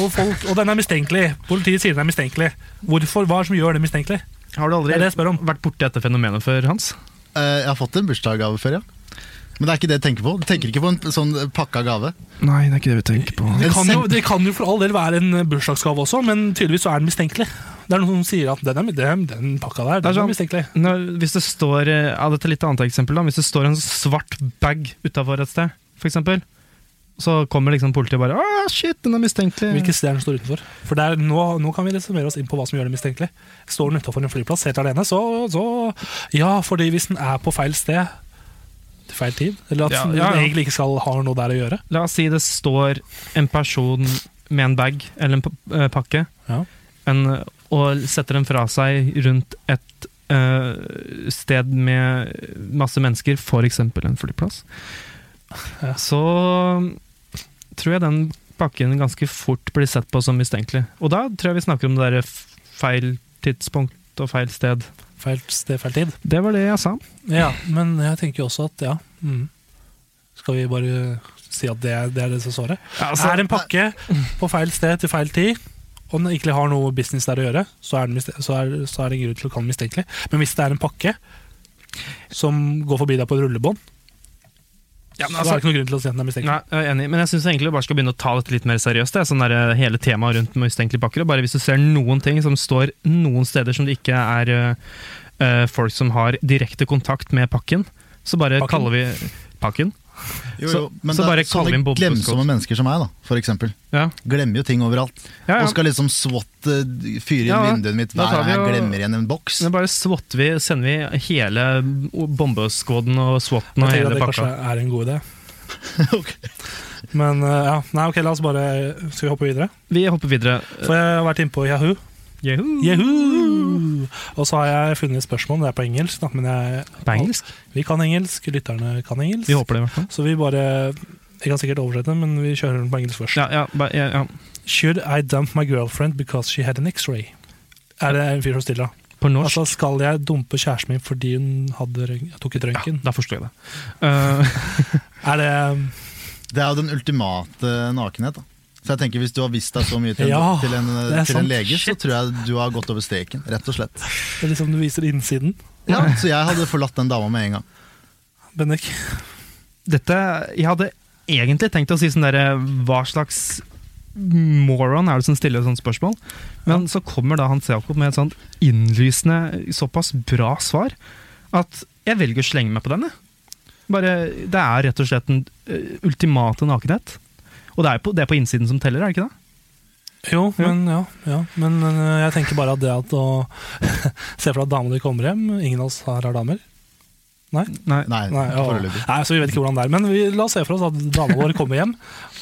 Speaker 2: og, folk, og den er mistenkelig. Politiet sier den er mistenkelig. Hvorfor? Hva er det som gjør det mistenkelig?
Speaker 1: Har du aldri
Speaker 2: Det er det jeg spør om.
Speaker 1: vært borti dette fenomenet før, Hans?
Speaker 4: Eh, jeg har fått en bursdagsgave før, ja. Men det er ikke det jeg tenker på. Jeg tenker ikke på en sånn pakka gave.
Speaker 1: Nei, det er ikke det vi tenker på.
Speaker 2: Det
Speaker 4: En
Speaker 2: kan, jo,
Speaker 4: sent-
Speaker 2: det kan jo for all del være en eh, bursdagsgave også, men tydeligvis så er den mistenkelig. Det er noen som sier at den, er, den, den pakka der,
Speaker 1: Det er
Speaker 2: den
Speaker 1: sånn.
Speaker 2: er mistenkelig.
Speaker 1: Når, hvis det står eh, ja, Dette er litt annet eksempel. da Hvis det står en svart bag utafor et sted, f.eks., så kommer liksom politiet bare Å, shit, den er mistenkelig.
Speaker 2: Hvilke steder den står utenfor. For der, nå, nå kan vi resumere oss inn på hva som gjør det mistenkelig. Står den utenfor en flyplass helt alene, så, så Ja, fordi hvis den er på feil sted til feil tid, eller at
Speaker 1: Ja,
Speaker 2: den
Speaker 1: ja, ja.
Speaker 2: egentlig ikke skal ha noe der å gjøre
Speaker 1: La oss si det står en person med en bag eller en pa- eh, pakke
Speaker 2: Ja.
Speaker 1: en, og setter den fra seg rundt et eh, sted med masse mennesker, f.eks. en flyplass,
Speaker 2: Ja.
Speaker 1: så tror jeg den pakken ganske fort blir sett på som mistenkelig. Og da tror jeg vi snakker om det derre f- feil tidspunkt og feil sted.
Speaker 2: Feil sted, feil tid.
Speaker 1: Det var det jeg sa.
Speaker 2: Ja, men jeg tenker jo også at ja. Mm. Skal vi bare si at det, er- det er det som er svaret?
Speaker 1: altså-
Speaker 2: er en pakke på feil sted til feil tid, og den ikke har noe business der å gjøre, så er, den, miste- så er, så er det en grunn til å kalle den mistenkelig. Men hvis det er en pakke som går forbi deg på et rullebånd,
Speaker 1: Ja,
Speaker 2: så er
Speaker 1: men altså-
Speaker 2: det ikke noen grunn til å si at den er mistenkelig.
Speaker 1: Nei, jeg er enig, men jeg syns egentlig vi bare skal begynne å ta dette litt mer seriøst. Det er sånn der, eh, hele temaet rundt mistenkelige pakker. og Bare hvis du ser noen ting som står noen steder som det ikke er eh, eh, folk som har direkte kontakt med pakken, så bare
Speaker 2: Pakken?
Speaker 1: kaller vi pakken.
Speaker 4: Jo,
Speaker 1: Så- så
Speaker 4: det er
Speaker 1: bare kaller vi en
Speaker 4: sånne
Speaker 1: Bob
Speaker 4: glemsomme
Speaker 1: Scott.
Speaker 4: mennesker som meg, da, for eksempel.
Speaker 1: Ja,
Speaker 4: Glemmer jo ting overalt.
Speaker 1: ja,
Speaker 4: Og
Speaker 1: ja.
Speaker 4: skal liksom SWAT eh, fyre inn
Speaker 1: Ja, ja.
Speaker 4: vinduet mitt
Speaker 1: Da
Speaker 4: hver
Speaker 1: tar
Speaker 4: gang jeg
Speaker 1: vi jo-
Speaker 4: glemmer igjen en boks.
Speaker 1: Men bare swatter vi, sender vi hele bombeskåden og swatten
Speaker 2: Jeg tenker
Speaker 1: og hele
Speaker 2: at det kanskje
Speaker 1: pakka.
Speaker 2: er en god idé. Men eh, ja, nei, ok, la oss bare Skal vi hoppe videre?
Speaker 1: Vi hopper videre.
Speaker 2: For jeg har vært inne på Yahoo.
Speaker 1: Yahoo!
Speaker 2: Yahoo! Og så har jeg funnet et spørsmål, det er på engelsk, da, men jeg,
Speaker 1: På engelsk?
Speaker 2: vi kan engelsk, lytterne kan engelsk.
Speaker 1: Vi håper det, i hvert fall.
Speaker 2: Så vi bare Jeg kan sikkert oversette, men vi kjører den på engelsk først.
Speaker 1: Ja, ja, ba, ja, ja.
Speaker 2: Should I dump my girlfriend because she had an x-ray? Er det en fyr som stiller? da?
Speaker 1: På norsk?
Speaker 2: Altså, skal jeg dumpe kjæresten min fordi hun hadde, røntgen- tok et røntgen?
Speaker 1: Da forstår jeg det. Eh,
Speaker 2: Er det
Speaker 4: Det er jo den ultimate eh, nakenhet. da Så jeg tenker Hvis du har vist deg så mye til, en-
Speaker 2: Ja,
Speaker 4: til, en, eh,
Speaker 2: det er
Speaker 4: til
Speaker 2: sant.
Speaker 4: en lege, så tror jeg du har gått over streken. Rett og slett
Speaker 2: det er liksom du viser innsiden?
Speaker 4: ja, Så jeg hadde forlatt den dama med en gang.
Speaker 2: Bendik?
Speaker 1: dette Jeg hadde egentlig tenkt å si sånn derre Hva slags moron er det som stiller sånne spørsmål? Men så kommer da Hans Jakob med et sånt innlysende, såpass bra svar at jeg velger å slenge meg på den, jeg. Bare, det er rett og slett den eh, ultimate nakenhet. Og det er, på, det er på innsiden som teller, er det ikke det?
Speaker 2: Jo, men ja, ja. Men øh, jeg tenker bare at det at å se for deg at damene kommer hjem Ingen av oss her har damer.
Speaker 1: Nei.
Speaker 4: Nei,
Speaker 2: Nei, ja.
Speaker 4: foreløpig.
Speaker 2: Nei, så vi vet ikke hvordan det er. Men vi, la oss se for oss at dama vår kommer hjem,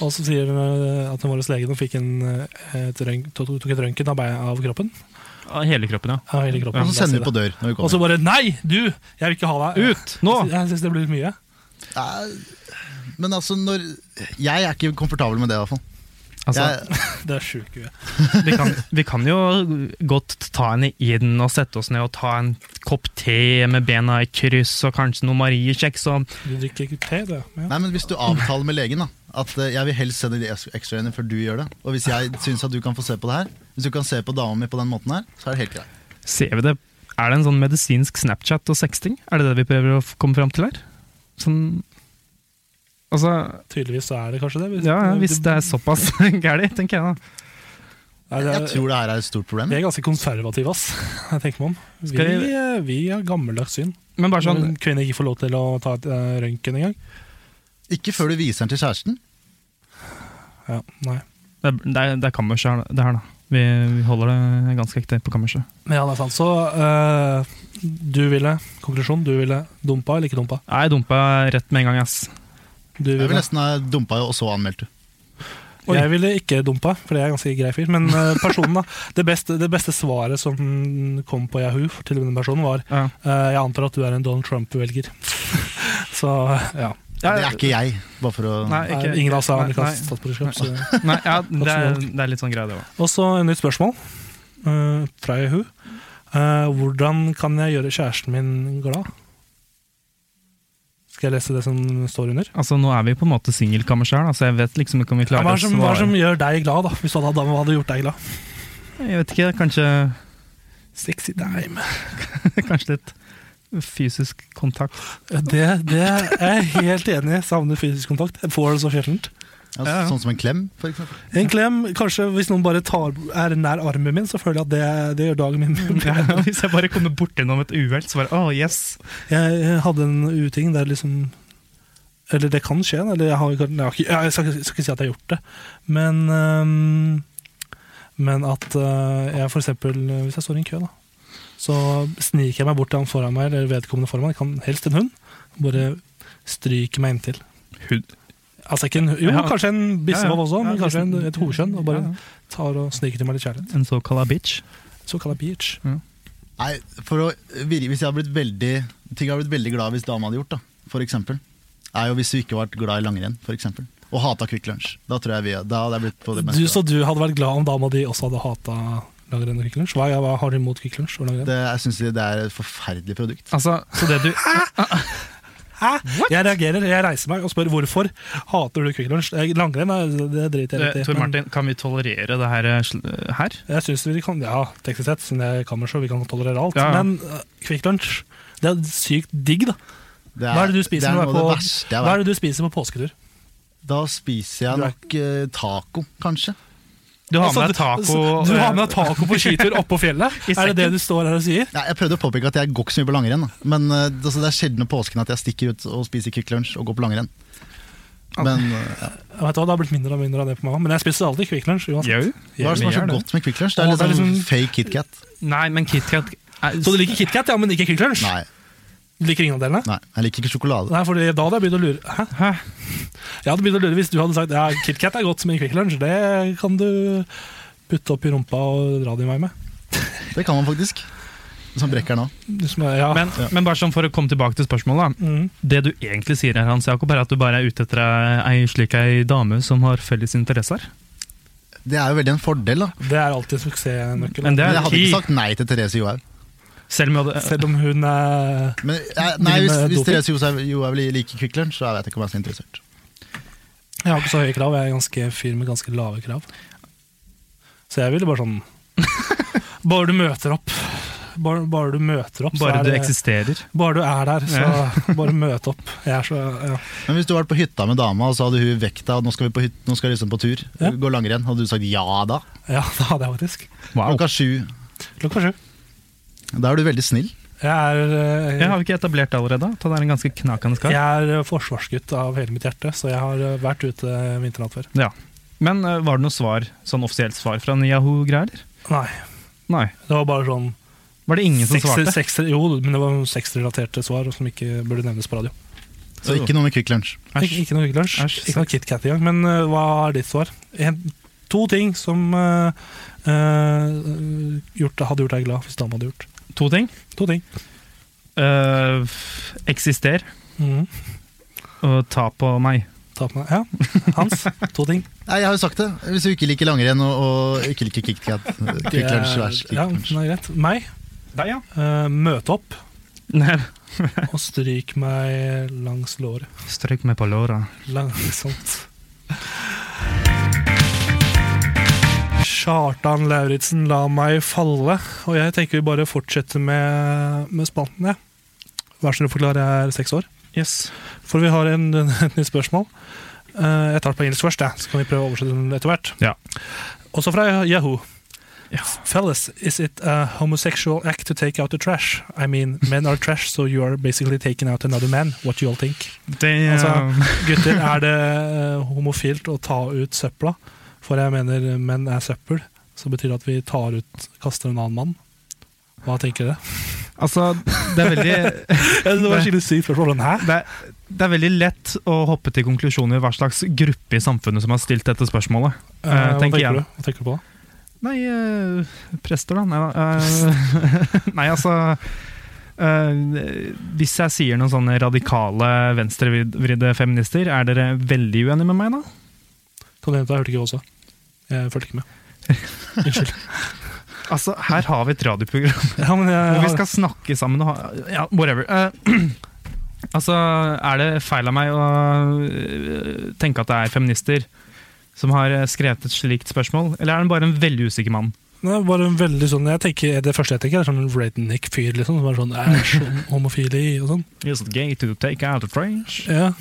Speaker 2: og så sier øh, at vår lege nå fikk en, øh, et rønk, to- to- tok et røntgen av, bei- av kroppen.
Speaker 1: Av Hele kroppen, ja.
Speaker 2: Av hele kroppen
Speaker 4: Og så sender vi på dør når vi
Speaker 2: Og så
Speaker 4: kommer.
Speaker 2: bare Nei, du! Jeg vil ikke ha deg
Speaker 1: Ut! Nå!
Speaker 2: Jeg syns det blir mye.
Speaker 4: Nei, Men altså, når Jeg er ikke komfortabel med det, i hvert fall.
Speaker 1: Altså,
Speaker 4: Jeg,
Speaker 2: Det er sjukt mye.
Speaker 1: vi, kan, vi kan jo godt ta henne inn og sette oss ned og ta en kopp te med bena i kryss og kanskje noe mariekjeks og
Speaker 2: Du drikker ikke te, du? Ja.
Speaker 4: nei, men hvis du avtaler med legen da at eh, jeg vil helst se de x-rayene før du gjør det, og hvis jeg syns at du kan få se på det her, hvis du kan se på dama mi på den måten her, så er det helt greit.
Speaker 1: Ser vi det? Er det en sånn medisinsk Snapchat og sexting? Er det det vi prøver å f- komme fram til her? Sånn Altså,
Speaker 2: Tydeligvis så er det kanskje det. Hvis,
Speaker 1: ja, ja, hvis det er såpass gæli, tenker jeg da.
Speaker 2: Nei, det er-
Speaker 4: Jeg tror det her er et stort problem.
Speaker 2: Vi er ganske konservative, ass. Jeg tenker meg om. Vi,
Speaker 1: Skal vi-
Speaker 2: eh, vi har gammeldags syn.
Speaker 1: Men bare sånn,
Speaker 2: Når en kvinne ikke får lov til å ta et uh, røntgen engang.
Speaker 4: Ikke før du viser den til kjæresten.
Speaker 2: Ja, nei.
Speaker 1: det er, det er- det er kammerset her, det her da. Vi, vi holder det ganske ekte på kammerset.
Speaker 2: Men ja, det er sant. Så eh, du ville Konklusjon, du ville dumpa eller ikke dumpa?
Speaker 1: Nei, Jeg dumpa rett med en gang, ass.
Speaker 2: Du
Speaker 4: Jeg vil
Speaker 2: ville,
Speaker 4: nesten ha dumpa og så anmeldt du.
Speaker 1: Oi.
Speaker 2: jeg ville ikke dumpa, for jeg er en ganske grei fyr. Men eh, personen, da. Det beste, det beste svaret som kom på Yahoo til denne personen, var
Speaker 1: Ja.
Speaker 2: eh, Jeg antar at du er en Donald Trump-velger. Så ja.
Speaker 4: Det er ikke jeg, bare for å
Speaker 1: Nei, ikke-
Speaker 2: Ingen av oss har
Speaker 1: nei,
Speaker 2: amerikansk statsborgerskap. så-
Speaker 1: Nei, ja, det, er, det er litt sånn greie, det òg.
Speaker 2: Og så et nytt spørsmål eh, fra Yahoo. Eh, hvordan kan jeg gjøre kjæresten min glad? Skal jeg lese det som står under?
Speaker 1: Altså, nå er vi på en måte singelkammerset her, da, så jeg vet liksom ikke om vi
Speaker 2: Ja,
Speaker 1: klarer
Speaker 2: Hva er
Speaker 1: å
Speaker 2: det som, hva er det som
Speaker 1: svare.
Speaker 2: gjør deg glad, da? Hvis du hadde, hva hadde gjort deg glad?
Speaker 1: Jeg vet ikke, kanskje,
Speaker 2: Sexy time.
Speaker 1: kanskje litt fysisk kontakt.
Speaker 2: Det, det er jeg helt enig i. Savner fysisk kontakt. Jeg får det så sjeldent.
Speaker 4: Ja,
Speaker 1: Ja, ja.
Speaker 4: Sånn som en klem, for eksempel.
Speaker 2: En klem, kanskje hvis noen bare tar, er nær armen min, så føler jeg at det, det gjør dagen min bedre.
Speaker 1: Hvis jeg bare kommer borti noe med et uhell, så bare åh, yes!
Speaker 2: Jeg jeg hadde en uting der liksom Eller det kan skje, eller jeg, har, jeg, har ikke, jeg skal, ikke- skal ikke si at jeg har gjort det, men øhm, Men at øh, jeg for eksempel øh, Hvis jeg står i en kø, da, så sniker jeg meg bort til han foran meg, eller vedkommende foran meg, det kan helst en hund. Bare stryker meg inntil.
Speaker 1: Hund?
Speaker 2: Altså ikke en, jo,
Speaker 1: Ja.
Speaker 2: kanskje en
Speaker 1: Ja,
Speaker 2: bissehval
Speaker 1: ja.
Speaker 2: også, men
Speaker 1: Ja,
Speaker 2: kanskje en,
Speaker 1: liksom-
Speaker 2: et hovkjønn. Og bare
Speaker 1: Ja, ja.
Speaker 2: tar og sniker til meg litt kjærlighet.
Speaker 1: En såkalla bitch.
Speaker 2: Såkalla beach.
Speaker 1: Mm.
Speaker 4: Nei, for å, vir- hvis jeg hadde blitt veldig Ting jeg hadde blitt veldig glad hvis dama hadde gjort, da, for eksempel. Er jo hvis du ikke var glad i langrenn, for eksempel. Og hata Kvikk Lunsj. Da tror jeg vi Da hadde jeg blitt på det
Speaker 2: Du,
Speaker 4: meste.
Speaker 2: så du hadde vært glad om dama di også hadde hata langrenn og Kvikk Lunsj? Hva, hva har du imot Kvikk Lunsj og langrenn?
Speaker 4: Det, jeg syns det er et forferdelig produkt.
Speaker 1: Altså, så det du
Speaker 2: Hæ? Jeg reagerer, jeg reiser meg og spør hvorfor hater du Kvikk Lunsj. Eh, Langrenn er- det driter jeg litt i.
Speaker 1: eh, Tor
Speaker 2: men
Speaker 1: Martin, kan vi tolerere det her? eh, sl- her?
Speaker 2: Jeg synes vi kan, ja, teknisk sett, siden jeg er kammersjå, vi kan tolerere alt.
Speaker 1: Ja, ja.
Speaker 2: Men eh, Kvikk Lunsj, det er sykt digg, da.
Speaker 4: Det
Speaker 2: Hva er det du spiser
Speaker 4: det
Speaker 2: når
Speaker 4: er noe
Speaker 2: du er
Speaker 4: av
Speaker 2: på-
Speaker 4: det verste jeg
Speaker 2: Hva er det
Speaker 4: vet.
Speaker 2: du spiser på påsketur?
Speaker 4: Da spiser jeg
Speaker 2: Du er-
Speaker 4: nok eh, taco, kanskje.
Speaker 1: Du har med
Speaker 2: Altså,
Speaker 1: deg taco eh,
Speaker 2: du- Du har med deg taco på skitur oppå fjellet?
Speaker 1: I
Speaker 2: er det det
Speaker 1: sekken.
Speaker 2: du står her og sier?
Speaker 4: Nei, jeg prøvde å påpeke at jeg går ikke så mye på langrenn, da. men eh, det- altså, det er sjelden om påsken at jeg stikker ut og spiser Kvikk Lunsj og går på langrenn. Men eh, ja.
Speaker 2: Jeg vet hva, Det har blitt mindre og mindre av det på meg, men jeg spiser alltid Kvikk Lunsj. uansett.
Speaker 1: Jau.
Speaker 4: hva er det som er så
Speaker 1: Gjør det.
Speaker 4: godt med Kvikk Lunsj? Det
Speaker 2: Å,
Speaker 4: er
Speaker 2: det er
Speaker 4: liksom
Speaker 2: liksom-
Speaker 4: fake KitKat.
Speaker 1: Nei, men KitKat er-
Speaker 2: Så du liker KitKat, ja, men ikke Kvikk Lunsj?
Speaker 4: Nei,
Speaker 2: Du liker ingen av delene?
Speaker 4: nei, jeg liker ikke sjokolade.
Speaker 2: Nei, for da hadde jeg begynt å lure. Hæ?
Speaker 1: Hæ?
Speaker 2: Jeg hadde begynt å lure hvis du hadde sagt ja, KitKat er godt som en Kvikk Lunsj. Det kan du putte opp i rumpa og dra din vei med.
Speaker 4: Det kan man faktisk. Som brekker nå.
Speaker 2: Du som er, ja.
Speaker 1: Men, men bare sånn for å komme tilbake til spørsmålet. da.
Speaker 2: Mhm.
Speaker 1: Det du egentlig sier her, Hans Jakob, er at du bare er ute etter ei slik ei dame som har felles interesser.
Speaker 4: Det er jo veldig en fordel, da.
Speaker 2: Det er alltid suksessnøkkelen.
Speaker 1: Men det
Speaker 4: Men jeg
Speaker 1: er
Speaker 4: hadde
Speaker 1: ti.
Speaker 4: ikke sagt nei til Therese Johaug.
Speaker 1: Selv om jeg hadde
Speaker 2: Selv om hun er
Speaker 4: Men jeg,
Speaker 2: Driver
Speaker 4: nei, hvis,
Speaker 2: med
Speaker 4: hvis
Speaker 2: doping?
Speaker 4: Therese Johaug- Johaug liker Kvikk Lunsj, så vet jeg ikke om jeg er så interessert.
Speaker 2: Jeg har ikke så høye krav, jeg er ganske fyr med ganske lave krav. Så jeg ville bare sånn Bare du møter opp. Bare, bare du møter opp,
Speaker 1: Bare
Speaker 2: så er
Speaker 1: du
Speaker 2: det-
Speaker 1: eksisterer.
Speaker 2: Bare du er der, så bare møt opp. Jeg er så ja.
Speaker 4: Men hvis du hadde vært på hytta med dama, og så hadde hun vekta og nå skal vi på, hyt, nå skal vi liksom på tur,
Speaker 2: Ja.
Speaker 4: gå langrenn, hadde du sagt ja da?
Speaker 2: ja, det hadde jeg faktisk.
Speaker 1: Wow.
Speaker 4: Klokka sju.
Speaker 2: Klokka sju.
Speaker 4: Da er du veldig snill.
Speaker 2: Jeg er, eh,
Speaker 1: Jeg har vi ikke etablert det allerede? at Han er en ganske knakende kar.
Speaker 2: jeg er eh, forsvarsgutt av hele mitt hjerte, så jeg har eh, vært ute vinternatt før.
Speaker 1: Ja. Men eh, var det noe svar, sånn offisielt svar fra Niaho-greier?
Speaker 2: Nei,
Speaker 1: Nei.
Speaker 2: det var bare sånn
Speaker 1: Var det ingen som
Speaker 2: sekser-
Speaker 1: svarte?
Speaker 2: sekser- jo, men det var sexrelaterte svar som ikke burde nevnes på radio.
Speaker 4: Så ikke noe med Kvikk Lunsj.
Speaker 2: Ikke, ikke noe Lunsj,
Speaker 1: Æsj.
Speaker 2: ikke noe KitKat engang. Men øh, hva er ditt svar? En, to ting som øh, øh, gjort, hadde gjort deg glad hvis dama hadde gjort.
Speaker 1: To ting.
Speaker 2: To ting.
Speaker 1: Eh, f- eksister
Speaker 2: Mhm.
Speaker 1: og ta på meg.
Speaker 2: Ta på meg. Ja, Hans, to ting.
Speaker 4: Nei, jeg har jo sagt det. Hvis du ikke liker langrenn og, og ikke liker KitKat Kvikk Lunsj, vær så
Speaker 2: Ja,
Speaker 4: snill.
Speaker 2: det er greit. Meg,
Speaker 1: Deg, ja.
Speaker 2: øh, møte opp
Speaker 1: Nei.
Speaker 2: og stryk meg langs låret.
Speaker 1: Strøk meg på låra.
Speaker 2: Langsomt. Kjartan Lauritzen, la meg falle. Og jeg tenker vi bare fortsetter med, med spalten, jeg. Vær så snill å forklare, jeg er seks år.
Speaker 1: Yes.
Speaker 2: For vi har en, et nytt spørsmål. Eh, jeg tar det på engelsk først, jeg, så kan vi prøve å oversette den etter hvert.
Speaker 1: Ja.
Speaker 2: Også fra Yahoo.
Speaker 1: Ja.
Speaker 2: Fellas, is it a homosexual act to take out the trash? I mean, men are trash, so you are basically taking out another man. What do you all think?
Speaker 1: Det eh,
Speaker 2: Altså- Gutter, er det eh, homofilt å ta ut søpla? For jeg mener menn er søppel, så betyr det at vi tar ut, kaster en annen mann. Hva tenker dere?
Speaker 1: altså, det er veldig
Speaker 2: Det var et skikkelig sykt spørsmål. Men hæ?
Speaker 1: det, er- det er veldig lett å hoppe til konklusjoner hva slags gruppe i samfunnet som har stilt dette spørsmålet.
Speaker 2: Eh,
Speaker 1: Eh,
Speaker 2: hva,
Speaker 1: tenker
Speaker 2: tenker
Speaker 1: jeg.
Speaker 2: du? hva tenker du på? da?
Speaker 1: Nei, eh, prester, da. Nei, da. Eh, nei altså eh, Hvis jeg sier noen sånne radikale venstrevridde feminister, er dere veldig uenige med meg da?
Speaker 2: Kan du hente, jeg hørte ikke hva du sa. Jeg fulgte ikke med. Unnskyld.
Speaker 1: Altså, her har vi et radioprogram
Speaker 2: Ja, men jeg,
Speaker 1: hvor vi skal snakke sammen og ha Ja, whatever. Eh, altså, er det feil av meg å eh, tenke at det er feminister som har eh, skrevet et slikt spørsmål, eller er han bare en veldig usikker mann?
Speaker 2: Nei, bare en veldig sånn, jeg tenker, det første jeg tenker, er sånn redneck-fyr, liksom, som er sånn æsj, hom- homofili og sånn.
Speaker 1: Is it gay to take out the trash?
Speaker 2: Ja.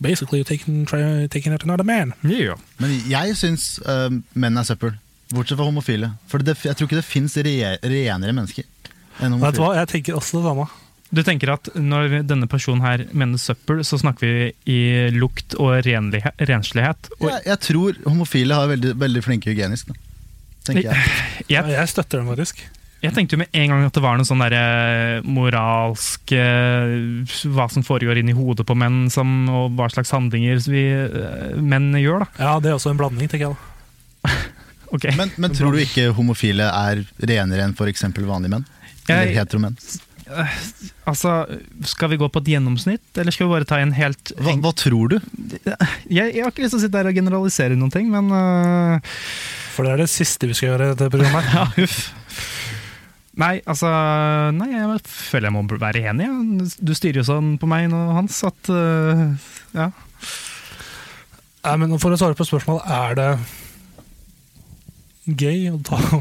Speaker 2: Basically, you're taking, try, taking out another man.
Speaker 1: Yeah.
Speaker 4: Men jeg syns eh, menn er søppel. Bortsett fra homofile. For det, jeg tror ikke det fins re, renere mennesker enn
Speaker 2: Vet du
Speaker 4: homofile.
Speaker 2: hva, jeg tenker også det samme.
Speaker 1: Du tenker at når denne personen her mener søppel, så snakker vi i lukt og renlihe- renslighet. Og
Speaker 4: Jeg, jeg tror homofile har veldig, veldig flinke hygienister. Tenker jeg.
Speaker 1: Ja.
Speaker 2: Jeg støtter den faktisk.
Speaker 1: jeg tenkte jo med en gang at det var noe sånn derre moralsk eh, Hva som foregår inni hodet på menn, som, og hva slags handlinger vi eh, menn gjør, da.
Speaker 2: Ja, det er også en blanding, tenker jeg da.
Speaker 1: Ok.
Speaker 4: Men, men tror du ikke homofile er renere enn f.eks. vanlige menn? Eller
Speaker 1: Jeg,
Speaker 4: heteromenn?
Speaker 1: altså, skal vi gå på et gjennomsnitt, eller skal vi bare ta en helt
Speaker 4: Hva, hva tror du?
Speaker 1: Jeg, jeg har ikke lyst til å sitte der og generalisere noen ting, men eh,
Speaker 2: For det er det siste vi skal gjøre i dette programmet. her.
Speaker 1: Ja, uff. Nei, altså Nei, jeg føler jeg må være enig. ja. Du styrer jo sånn på meg nå, Hans, at øh, Ja.
Speaker 2: Nei, men for å svare på spørsmålet, er det gøy å ta, å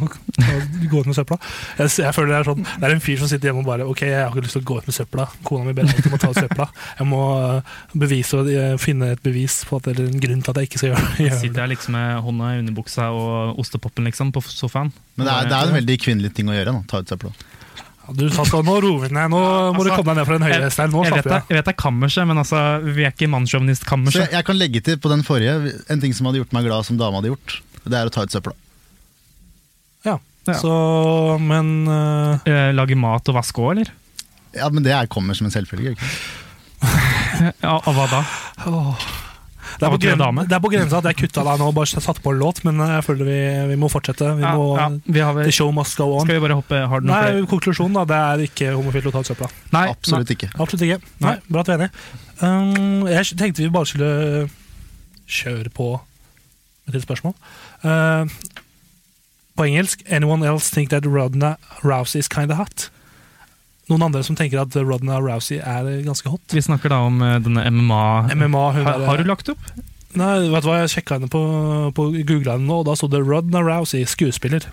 Speaker 2: gå ut med søpla? Jeg, s- jeg føler Det er sånn, det er en fyr som sitter hjemme og bare Ok, jeg har ikke lyst til å gå ut med søpla. Kona mi ber alltid om å ta ut søpla. Jeg må øh, bevise, og, øh, finne et bevis på at, eller en grunn til at jeg ikke skal gjøre, gjøre
Speaker 1: Sitter
Speaker 2: det.
Speaker 1: jeg liksom med hånda i underbuksa og ostepopen, liksom, på sofaen.
Speaker 4: Men det er, det er en veldig kvinnelig ting å gjøre. Da. Ta ut søpla.
Speaker 2: Ja, Du Saskia, nå roer vi ned. Nå må du
Speaker 1: Altså,
Speaker 2: komme deg ned fra den høye
Speaker 1: jeg,
Speaker 2: hesten. her. Nå
Speaker 1: jeg, vet
Speaker 2: slapper
Speaker 1: det,
Speaker 2: jeg av.
Speaker 1: jeg vet det er kammerset, men altså, vi er ikke
Speaker 4: Så jeg,
Speaker 1: mannsjåvinist-kammerset.
Speaker 4: jeg kan legge til på den forrige en ting som hadde gjort meg glad, som dama hadde gjort. Det er å ta ut søpla.
Speaker 2: Ja.
Speaker 1: Ja.
Speaker 2: Så, men øh,
Speaker 1: Eh, Lage mat og vaske òg, eller?
Speaker 4: Ja, men Det er- kommer som en selvfølge. gjør det Ikke?
Speaker 1: Ja, og hva da?
Speaker 2: åh. Det er,
Speaker 1: Av
Speaker 2: på
Speaker 1: og til en
Speaker 2: gren-
Speaker 1: dame.
Speaker 2: det er på grensa at jeg kutta deg nå og bare satte på en låt, men eh, jeg føler vi, vi må fortsette. Vi
Speaker 1: Ja,
Speaker 2: må,
Speaker 1: ja, vi har vel,
Speaker 2: The show must go on.
Speaker 1: skal vi bare hoppe Har du noe
Speaker 2: Nei,
Speaker 1: flere?
Speaker 2: konklusjonen da, det er ikke homofilt å ta ut søpla.
Speaker 1: Nei,
Speaker 4: Absolutt ikke.
Speaker 2: Absolutt ikke. Nei, Bra at vi er enige. Um, jeg tenkte vi bare skulle kjøre på med et spørsmål. Uh, på engelsk Anyone else think that Rodna Rousey is kinda hot? Noen andre som tenker at Rodna Rousey er ganske hot?
Speaker 1: Nei, vi snakker da om eh, denne MMA.
Speaker 2: MMA, hun
Speaker 1: Har,
Speaker 2: der-
Speaker 1: har du lagt opp?
Speaker 2: Nei, vet du hva, jeg sjekka henne på, på Googla henne nå, og da sto det Rodna Rousey, skuespiller.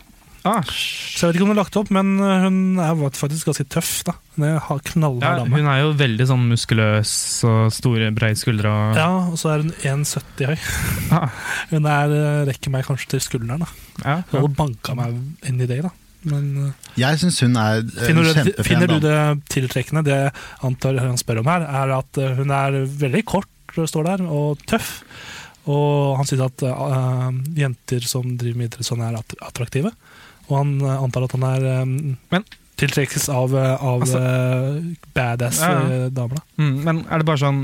Speaker 1: Ah,
Speaker 2: Så jeg vet ikke om hun har lagt opp, men eh, hun er faktisk ganske tøff. da. Hun er ha- knallhard
Speaker 1: Ja,
Speaker 2: dame.
Speaker 1: hun er jo veldig sånn muskuløs og store, breie skuldre. Og...
Speaker 2: Ja, og så er hun 1,70 høy.
Speaker 1: Ah.
Speaker 2: Hun er, eh, rekker meg kanskje til skulderen. da
Speaker 1: Ja,
Speaker 2: Hun hadde banka meg inn i det. da Men eh,
Speaker 4: Jeg syns hun er en
Speaker 2: finner, du,
Speaker 4: kjempefen
Speaker 2: finner du
Speaker 4: dame.
Speaker 2: det tiltrekkende, det jeg antar han spør om her, er at eh, hun er veldig kort, står der, og tøff. Og han sier at eh, jenter som driver med idrett sånn, er att- attraktive. Og han eh, antar at han er
Speaker 1: Men- Altså-
Speaker 2: Men tiltrekkes av, eh, av eh, badass
Speaker 1: Ja, ja.
Speaker 2: eh, damer. da.
Speaker 1: Mm, men er det bare sånn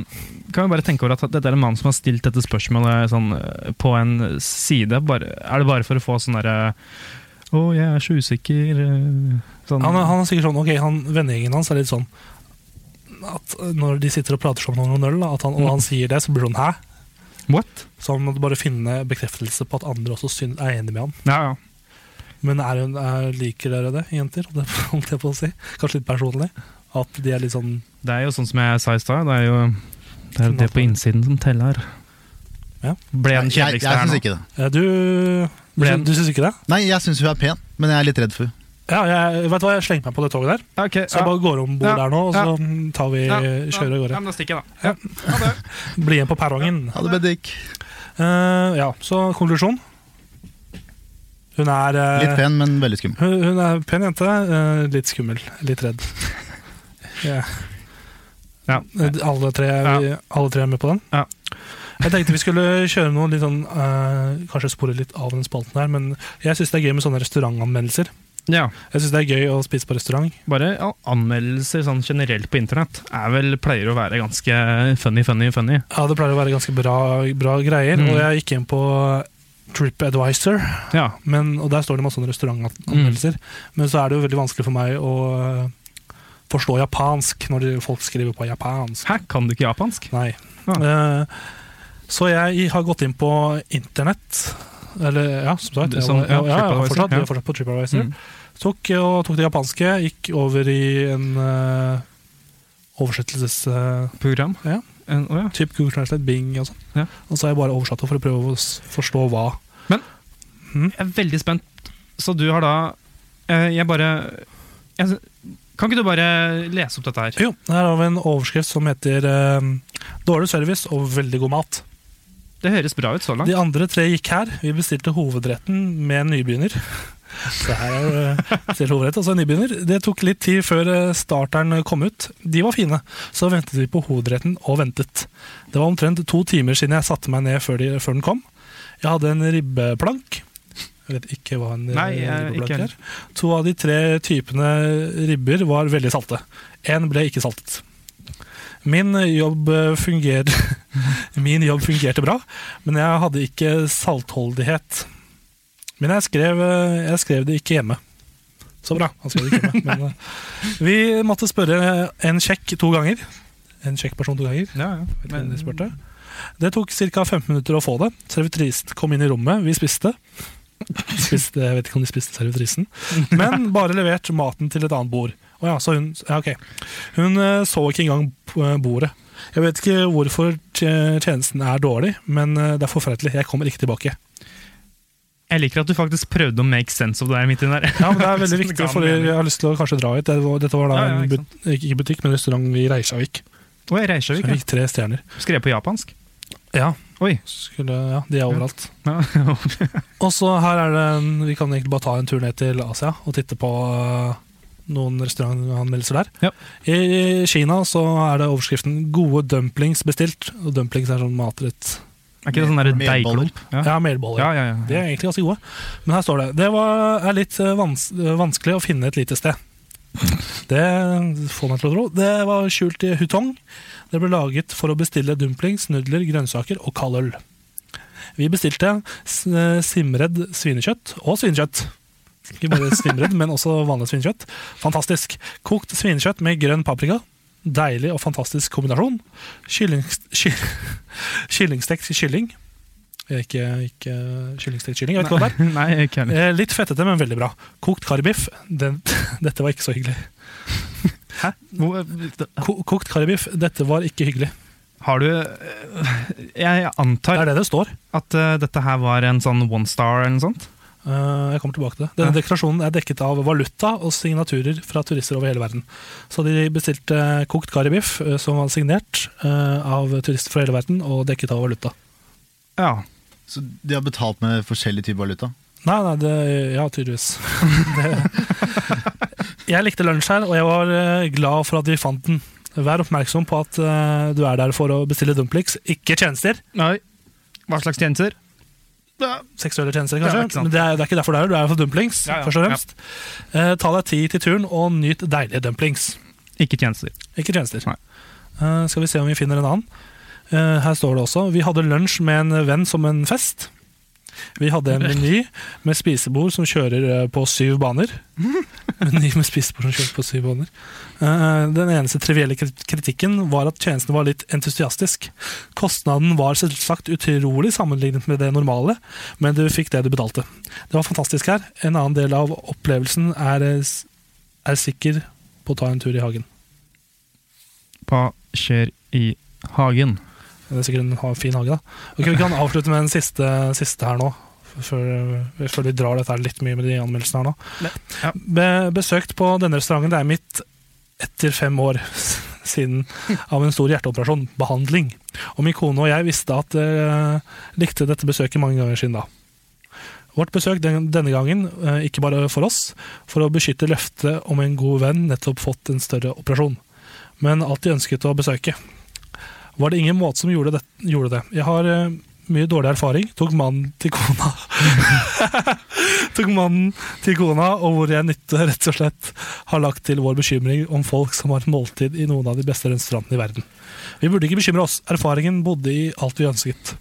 Speaker 1: Kan vi bare tenke over at dette er en mann som har stilt dette spørsmålet sånn, eh, på en side? Bare, er det bare for å få sånn derre Å, jeg er så usikker eh», sånn,
Speaker 2: Han, han er sikkert sånn, ok, han, Vennegjengen hans er litt sånn at eh, når de sitter og prater sammen om noen øl, da, at han, og han sier det, så blir han hæ?
Speaker 1: What?
Speaker 2: Så han måtte bare finne bekreftelse på at andre også syn- er enig med han.
Speaker 1: Ja, ja.
Speaker 2: Men er hun, er, liker dere det, jenter? Holdt jeg- holdt jeg på å si. Kanskje litt personlig. At de er litt sånn
Speaker 1: Det er jo sånn som jeg sa i stad. Det er jo det, er jo det på innsiden som teller.
Speaker 2: Ja.
Speaker 1: Ble jeg den
Speaker 4: Jeg, jeg
Speaker 1: kjedeligste her
Speaker 4: syns
Speaker 1: nå?
Speaker 4: ikke det.
Speaker 2: eh, Du, du,
Speaker 1: Ble-
Speaker 2: sy- du syns ikke det?
Speaker 4: Nei, jeg syns hun er pen, men jeg er litt redd for henne.
Speaker 2: Ja, jeg, vet du hva, jeg slenger meg på det toget der.
Speaker 1: Ja, ok,
Speaker 2: Så jeg
Speaker 1: ja.
Speaker 2: bare går om bord
Speaker 1: Ja.
Speaker 2: der nå, og
Speaker 1: Ja.
Speaker 2: så mm, tar vi,
Speaker 1: Ja.
Speaker 2: kjører av
Speaker 1: Ja,
Speaker 2: gårde.
Speaker 1: men da stikker jeg, da.
Speaker 2: Bli igjen på perrongen.
Speaker 4: Ha det, Bendik.
Speaker 2: Eh, ja, så konklusjon. Hun er eh,
Speaker 4: Litt pen, men veldig skummel.
Speaker 2: Hun, hun er en pen jente, eh, litt skummel, litt redd. Ja.
Speaker 1: Ja.
Speaker 2: Eh, Alle, tre, vi, alle tre er med på den?
Speaker 1: Ja.
Speaker 2: Jeg tenkte vi skulle kjøre noe litt sånn eh, Kanskje spore litt av den spalten her, men jeg syns det er gøy med sånne restaurantanmeldelser.
Speaker 1: Ja,
Speaker 2: Jeg syns det er gøy å spise på restaurant.
Speaker 1: bare ja, anmeldelser sånn generelt på internett er vel, pleier å være ganske funny, funny, funny.
Speaker 2: Ja, det pleier å være ganske bra, bra greier.
Speaker 1: Mm.
Speaker 2: Og jeg gikk inn på TripAdvisor,
Speaker 1: Ja,
Speaker 2: men, og der står det masse sånne
Speaker 1: Mm.
Speaker 2: restaurantanmeldelser. Men så er det jo veldig vanskelig for meg å eh, forstå japansk når de- folk skriver på japansk.
Speaker 1: Hæ, kan du ikke japansk?
Speaker 2: Nei.
Speaker 1: Ah.
Speaker 2: Eh, så jeg har gått inn på internett. Eller, ja, som sagt.
Speaker 1: Det som-
Speaker 2: jeg, var-
Speaker 1: ja,
Speaker 2: ja, ja, jeg, var
Speaker 1: TripAdvisor,
Speaker 2: fortsatt, jeg
Speaker 1: ja.
Speaker 2: var fortsatt på TripAdvisor.
Speaker 1: Mm.
Speaker 2: Tok, og tok det japanske, gikk over i en eh, oversettelses... eh,
Speaker 1: Program?
Speaker 2: Ja.
Speaker 1: En, å, ja.
Speaker 2: typ Google Translate, Bing og sånn.
Speaker 1: Ja.
Speaker 2: Og så har jeg bare oversatt det for å prøve å s- forstå hva.
Speaker 1: Jeg er veldig spent. Så du har da eh, Jeg bare jeg, Kan ikke du bare lese opp dette her?
Speaker 2: Jo, her har vi en overskrift som heter eh, 'Dårlig service og veldig god mat'.
Speaker 1: Det høres bra ut så langt.
Speaker 2: De andre tre gikk her. Vi bestilte hovedretten med en nybegynner. Så her er det bestilt hovedrett, altså en nybegynner. Det tok litt tid før eh, starteren kom ut. De var fine. Så ventet vi på hovedretten, og ventet. Det var omtrent to timer siden jeg satte meg ned før, de, før den kom. Jeg hadde en ribbeplank. Jeg vet ikke hva en eh,
Speaker 1: Nei, jeg- ikke
Speaker 2: ribbeplank
Speaker 1: heller.
Speaker 2: er. To av de tre typene ribber var veldig salte. Én ble ikke saltet. Min jobb, eh, funger... Min jobb fungerte bra, men jeg hadde ikke saltholdighet. Men jeg skrev, eh, jeg skrev det ikke hjemme. Så bra. Han skrev det ikke hjemme. Men, eh, vi måtte spørre en sjekk to ganger. En sjekkperson to ganger.
Speaker 1: Ja, ja.
Speaker 2: Vet ikke hvem
Speaker 1: Men,
Speaker 2: de spurte. Det tok ca. 15 minutter å få det. Servitrisen kom inn i rommet, vi spiste. spiste. Jeg vet ikke om de spiste servitrisen. Men bare levert maten til et annet bord. Å ja, så hun ja, ok. Hun eh, så ikke engang p- eh, bordet. Jeg vet ikke hvorfor tje- tjenesten er dårlig, men eh, det er forferdelig. Jeg kommer ikke tilbake.
Speaker 1: jeg liker at du faktisk prøvde å make sense of det her midt inni der. Sånn
Speaker 2: Ja, men Det er veldig
Speaker 1: Som
Speaker 2: viktig,
Speaker 1: ga
Speaker 2: for
Speaker 1: mening.
Speaker 2: jeg har lyst til å kanskje dra hit. Det var- Dette var da
Speaker 1: Ja, ja,
Speaker 2: en
Speaker 1: ikke
Speaker 2: but ikke butikk, men restaurant i Reisjavik.
Speaker 1: Oi, Reykjavik.
Speaker 2: Som
Speaker 1: ja.
Speaker 2: fikk tre stjerner.
Speaker 1: Skrev på japansk.
Speaker 2: Ja,
Speaker 1: Oi.
Speaker 2: skulle, ja, de er overalt.
Speaker 1: Ja.
Speaker 2: Og så her er det en, Vi kan egentlig bare ta en tur ned til Asia og titte på øh, noen restaurantanmeldelser der.
Speaker 1: Ja.
Speaker 2: I Kina så er det overskriften 'Gode dumplings bestilt'. Og dumplings er sånn matrett.
Speaker 1: Er ikke det sånn derre
Speaker 4: Melboller.
Speaker 1: deigklump? Ja.
Speaker 2: Ja, melboller.
Speaker 1: Ja, ja, ja.
Speaker 2: De er egentlig ganske gode. Men her står det 'Det var, er litt øh, vans øh, vanskelig å finne et lite sted'. Det får meg til å tro. Det var skjult i Hutong. Det ble laget for å bestille dumplings, nudler, grønnsaker og kald øl. Vi bestilte s- eh, simredd svinekjøtt og svinekjøtt. Ikke bare svinredd, men også vanlig svinekjøtt. Fantastisk. Kokt svinekjøtt med grønn paprika. Deilig og fantastisk kombinasjon. Kylling, ky, kyllingstekt kylling. Eh, Ikke, ikke kyllingstekt kylling, jeg vet ikke hva det er.
Speaker 1: Nei, ikke heller.
Speaker 2: Eh, Litt fettete, men veldig bra. Kokt karibiff. Den, dette var ikke så hyggelig. Ko, kokt karibiff, dette var ikke hyggelig.
Speaker 1: Har du eh, Jeg
Speaker 2: Det
Speaker 1: antar
Speaker 2: er det det står.
Speaker 1: at eh, dette her var en sånn one star eller noe sånt?
Speaker 2: Eh, jeg kommer tilbake til det. Denne
Speaker 1: Ja.
Speaker 2: dekorasjonen er dekket av valuta og signaturer fra turister over hele verden. Så de bestilte kokt karibiff, eh, som var signert eh, av turister fra hele verden, og dekket av valuta.
Speaker 1: Ja.
Speaker 4: Så de har betalt med forskjellig type valuta?
Speaker 2: Nei, nei, det, ja, tydeligvis. Det, jeg likte lunsj her, og jeg var eh, glad for at vi fant den. Vær oppmerksom på at eh, du er der for å bestille dumplings, ikke tjenester.
Speaker 1: Nei. Hva slags tjenester?
Speaker 2: Seksuelle tjenester,
Speaker 1: Ja,
Speaker 2: kanskje.
Speaker 1: ikke sant.
Speaker 2: Men det er, det er ikke derfor du er her, du er her for dumplings.
Speaker 1: Ja, ja,
Speaker 2: først og
Speaker 1: ja.
Speaker 2: fremst. Eh, ta deg tid til turen, og nyt deilige dumplings.
Speaker 1: Ikke tjenester.
Speaker 2: Ikke tjenester.
Speaker 1: Nei.
Speaker 2: Eh, skal vi se om vi finner en annen. Eh, her står det også Vi hadde lunsj med en venn som en fest. Vi hadde en meny med spisebord som kjører eh, på syv baner. Meny med spisebord som kjører på syv baner. Eh, den eneste trivielle krit- kritikken var at tjenesten var litt entusiastisk. Kostnaden var selvsagt utrolig sammenlignet med det normale, men du fikk det du betalte. Det var fantastisk her. En annen del av opplevelsen er, eh, s- er sikker på å ta en tur i hagen.
Speaker 1: Hva skjer i hagen?
Speaker 2: Det er sikkert en ha- fin hage, da. Ok, Vi kan avslutte med en siste, siste her nå. Før, før vi drar dette her litt mye med de anmeldelsene her nå.
Speaker 1: Ja.
Speaker 2: Be, besøkt på denne restauranten. Det er mitt etter fem år siden av en stor hjerteoperasjon. Behandling. Og min kone og jeg visste at eh, likte dette besøket mange ganger siden da. Vårt besøk den, denne gangen, eh, ikke bare for oss, for å beskytte løftet om en god venn nettopp fått en større operasjon, men alltid ønsket å besøke var det ingen måte som gjorde det. Gjorde det. Jeg har eh, mye dårlig erfaring. Tok mannen til kona Tok mannen til kona, og hvor jeg nytte rett og slett har lagt til vår bekymring om folk som har et måltid i noen av de beste restaurantene i verden. Vi burde ikke bekymre oss. Erfaringen bodde i alt vi ønsket.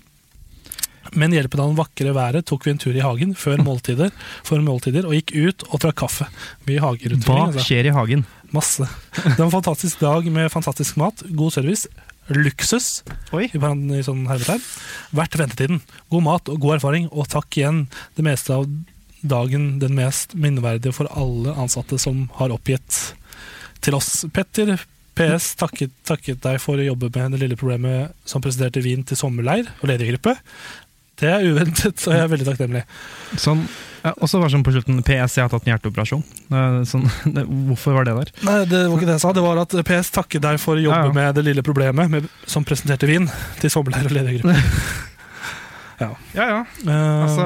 Speaker 2: Men hjelpen av den vakre været tok vi en tur i hagen før måltider, før måltider og gikk ut og drakk kaffe. Mye hagerutvikling.
Speaker 1: Hva
Speaker 2: altså.
Speaker 1: skjer i hagen?
Speaker 2: Masse. Det var en fantastisk dag med fantastisk mat, god service, luksus
Speaker 1: Oi.
Speaker 2: i paran- i sånn hermetegn, verdt ventetiden. God mat og god erfaring, og takk igjen det meste av dagen den mest minneverdige for alle ansatte som har oppgitt til oss. Petter, PS takket, takket deg for å jobbe med det lille problemet som presenterte vin til sommerleir og ledergruppe. Det er uventet, og jeg er veldig takknemlig.
Speaker 1: Sånn, ja, og så var det sånn på slutten PS, jeg har tatt en hjerteoperasjon. Det er Sånn, det, hvorfor var det der?
Speaker 2: Nei, det var ikke det jeg sa. Det var at PS takket deg for å jobbe
Speaker 1: Ja, ja.
Speaker 2: med det lille problemet med, som presenterte vin til sommerleir og ledergruppe.
Speaker 1: Ja, ja.
Speaker 2: Eh,
Speaker 1: Altså,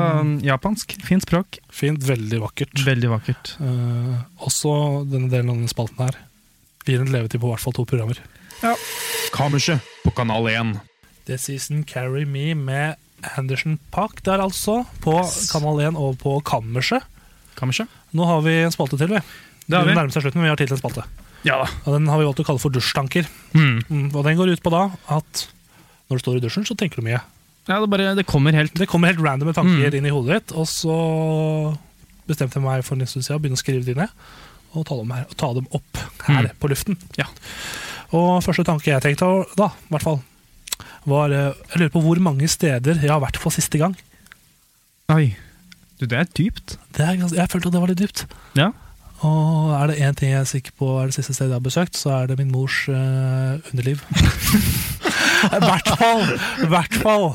Speaker 1: japansk. Fint språk.
Speaker 2: fint, veldig vakkert.
Speaker 1: Veldig vakkert.
Speaker 2: Eh, også denne delen av denne spalten her gir en levetid på i hvert fall to programmer.
Speaker 6: Kammerset på Kanal 1.
Speaker 2: The Season Carry Me med Anderson Park der, altså. På Kanal 1 og på Kammerset.
Speaker 1: Kammerset.
Speaker 2: Nå har vi en spalte til, vi.
Speaker 1: Det har
Speaker 2: vi
Speaker 1: vi.
Speaker 2: nærmer seg slutten, men vi har tid til en spalte.
Speaker 1: Ja da.
Speaker 2: Og den har vi valgt å kalle for dusjtanker.
Speaker 1: Mm.
Speaker 2: Mm, og den går ut på da at når du står i dusjen, så tenker du mye.
Speaker 1: Ja, det, bare, det kommer helt
Speaker 2: Det kommer helt random tanker inn i hodet ditt, og så bestemte jeg meg for en stund siden å begynne å skrive de ned og ta dem, her, og ta dem opp her på luften.
Speaker 1: Ja.
Speaker 2: Og første tanke jeg tenkte da, i hvert fall, var eh, Jeg lurer på hvor mange steder jeg har vært på siste gang.
Speaker 1: Oi. Du, det er dypt.
Speaker 2: Det er, gans- jeg følte at det var litt dypt.
Speaker 1: Ja.
Speaker 2: Og er det én ting jeg er sikker på er det siste stedet jeg har besøkt, så er det min mors eh, underliv. I hvert fall! I hvert fall!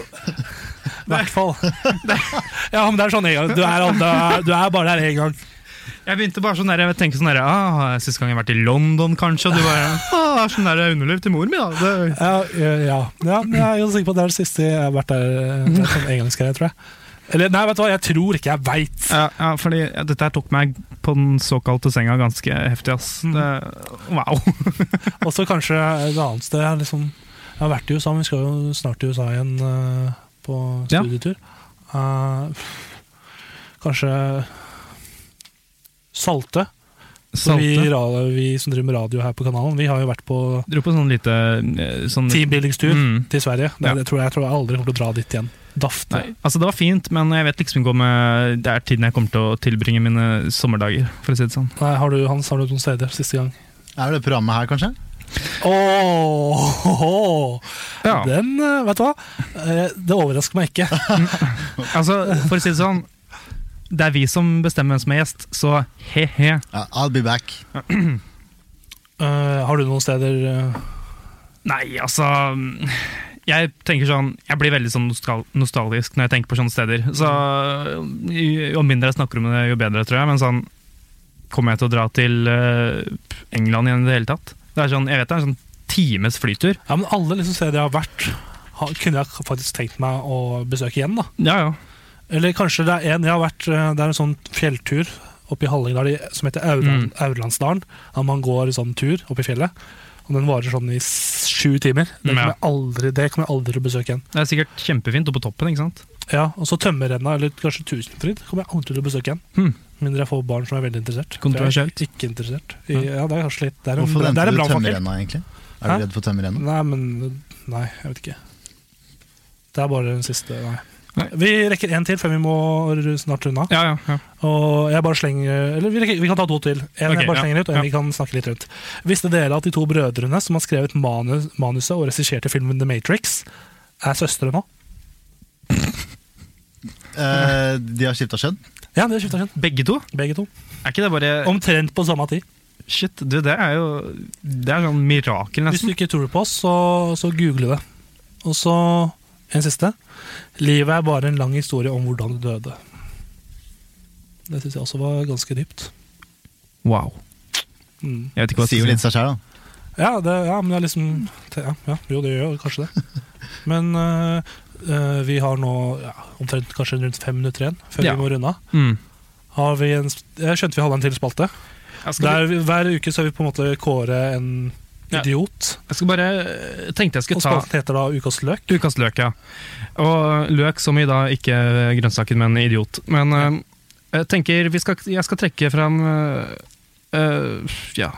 Speaker 2: I hvert fall. Ja, men det er sånn en gang. Du er, al- du er, du er bare der én gang.
Speaker 1: Jeg begynte bare sånn der, jeg tenker sånn der, ah, Sist gang jeg har vært i London, kanskje. Og du bare ah, Sånn der underliv til mor mi, da. Det,
Speaker 2: Ja, ja, ja. ja men jeg er ganske sikker på at det er det siste jeg har vært der. eh, Det er sånn engangsgreie, tror jeg. Eller nei, vet du hva, jeg tror ikke jeg veit.
Speaker 1: ja, ja, fordi ja, Dette her tok meg på den såkalte senga ganske heftig, ass. Det, wow.
Speaker 2: Og så kanskje et annet sted. Jeg, liksom, jeg har vært i USA, men vi skal jo snart til USA igjen eh, på
Speaker 1: Ja.
Speaker 2: studietur. Eh, kanskje Salte. For Vi,
Speaker 1: Salte.
Speaker 2: ra- vi som driver med radio her på kanalen, vi har jo vært på
Speaker 1: Dro på sånn lite eh, sånn,
Speaker 2: teambuildingstur
Speaker 1: Mm.
Speaker 2: til Sverige. Det,
Speaker 1: Ja.
Speaker 2: det tror jeg, jeg tror jeg aldri kommer til å dra dit igjen. Dafte.
Speaker 1: Nei, altså Det var fint, men jeg vet liksom ikke om eh, det er tiden jeg kommer til å tilbringe mine sommerdager. for å si det sånn.
Speaker 2: Nei, har du, Hans, har du noen steder siste gang?
Speaker 4: Er det programmet her, kanskje?
Speaker 2: Åh,
Speaker 1: Ja,
Speaker 2: Den, eh, vet du hva? Eh, Det overrasker meg ikke.
Speaker 1: altså For å si det sånn, det er vi som bestemmer hvem som er gjest, så he-he.
Speaker 4: Ja, I'll be back.
Speaker 2: Eh, har du noen steder eh,
Speaker 1: Nei, altså mm, Jeg tenker sånn Jeg blir veldig sånn nostal nostalgisk når jeg tenker på sånne steder. Så jo- Jo mindre jeg snakker om det, jo bedre, tror jeg. Men sånn Kommer jeg til å dra til eh, England igjen i det hele tatt? Det er sånn, Jeg vet det er en sånn times flytur.
Speaker 2: Ja, men alle liksom steder jeg har vært, har, kunne jeg faktisk tenkt meg å besøke igjen. da.
Speaker 1: Ja, ja.
Speaker 2: Eller kanskje det er en jeg har vært eh, Det er en sånn fjelltur oppe i Hallingdal i- som heter Auran,
Speaker 1: Mm.
Speaker 2: Aurlandsdalen. Der man går sånn tur opp i fjellet. Og den varer sånn i s- sju timer. Det
Speaker 1: Mm,
Speaker 2: kommer
Speaker 1: ja.
Speaker 2: jeg aldri, det kommer jeg aldri til å besøke igjen.
Speaker 1: Det er sikkert kjempefint oppe på toppen, ikke sant?
Speaker 2: Ja, Og så Tømmerrenna, eller kanskje Tusenfryd, kommer jeg aldri til å besøke igjen.
Speaker 1: Hmm.
Speaker 2: Mindre jeg får barn som er veldig interessert.
Speaker 1: Kontroversielt.
Speaker 2: For jeg er Ikke interessert. I, ja, det er kanskje litt Det er en,
Speaker 4: Hvorfor
Speaker 2: det
Speaker 4: venter
Speaker 2: er en
Speaker 4: du
Speaker 2: brannfakkel.
Speaker 4: tømmerrenna, egentlig? Er
Speaker 2: Hæ?
Speaker 4: du redd for tømmerrenna?
Speaker 2: Nei, men Nei, jeg vet ikke. Det er bare den siste, nei.
Speaker 1: Nei.
Speaker 2: Vi rekker én til før vi må ru- snart runde av.
Speaker 1: Ja, ja, ja.
Speaker 2: Og jeg bare slenger Eller vi, rekker, vi kan ta to til. En
Speaker 1: Ok,
Speaker 2: jeg bare
Speaker 1: ja,
Speaker 2: slenger ut, og en
Speaker 1: ja.
Speaker 2: vi kan snakke litt rundt. Visste dere at de to brødrene som har skrevet manu, manuset og regisserte filmen The Matrix, er søstre nå?
Speaker 4: Eh, de har skifta skjønn?
Speaker 2: Ja, det skifta kjønn.
Speaker 1: Begge to?
Speaker 2: Begge to.
Speaker 1: Er ikke det bare
Speaker 2: Omtrent på samme tid.
Speaker 1: Shit, du, det er jo Det er sånn mirakel,
Speaker 2: Hvis du
Speaker 1: nesten.
Speaker 2: ikke tror på oss, så, så google det. Og så en siste. Livet er bare en lang historie om hvordan du døde. Det syns jeg også var ganske dypt.
Speaker 1: Wow.
Speaker 2: Mm.
Speaker 1: Jeg vet ikke hva
Speaker 4: Sier jo
Speaker 1: jeg
Speaker 4: litt
Speaker 1: skal si.
Speaker 4: seg sjæl, da.
Speaker 2: Ja, det, ja, men det er liksom ja, ja, Jo, det gjør jo kanskje det. Men øh, øh, vi har nå ja, omtrent kanskje rundt fem minutter igjen før
Speaker 1: Ja.
Speaker 2: vi må runde av.
Speaker 1: Mm.
Speaker 2: Har vi en, sp- jeg skjønte vi hadde en til spalte.
Speaker 1: Jeg skal,
Speaker 2: Der, vi- hver uke skal vi på en måte kåre en
Speaker 1: Ja.
Speaker 2: idiot.
Speaker 1: jeg skal bare jeg Tenkte
Speaker 2: Og
Speaker 1: jeg skulle ta
Speaker 2: spalten heter da Ukas løk.
Speaker 1: Ukas løk, ja. Og løk som i da ikke grønnsaken, men idiot. Men eh, jeg tenker vi skal, Jeg skal trekke fram eh, eh, ja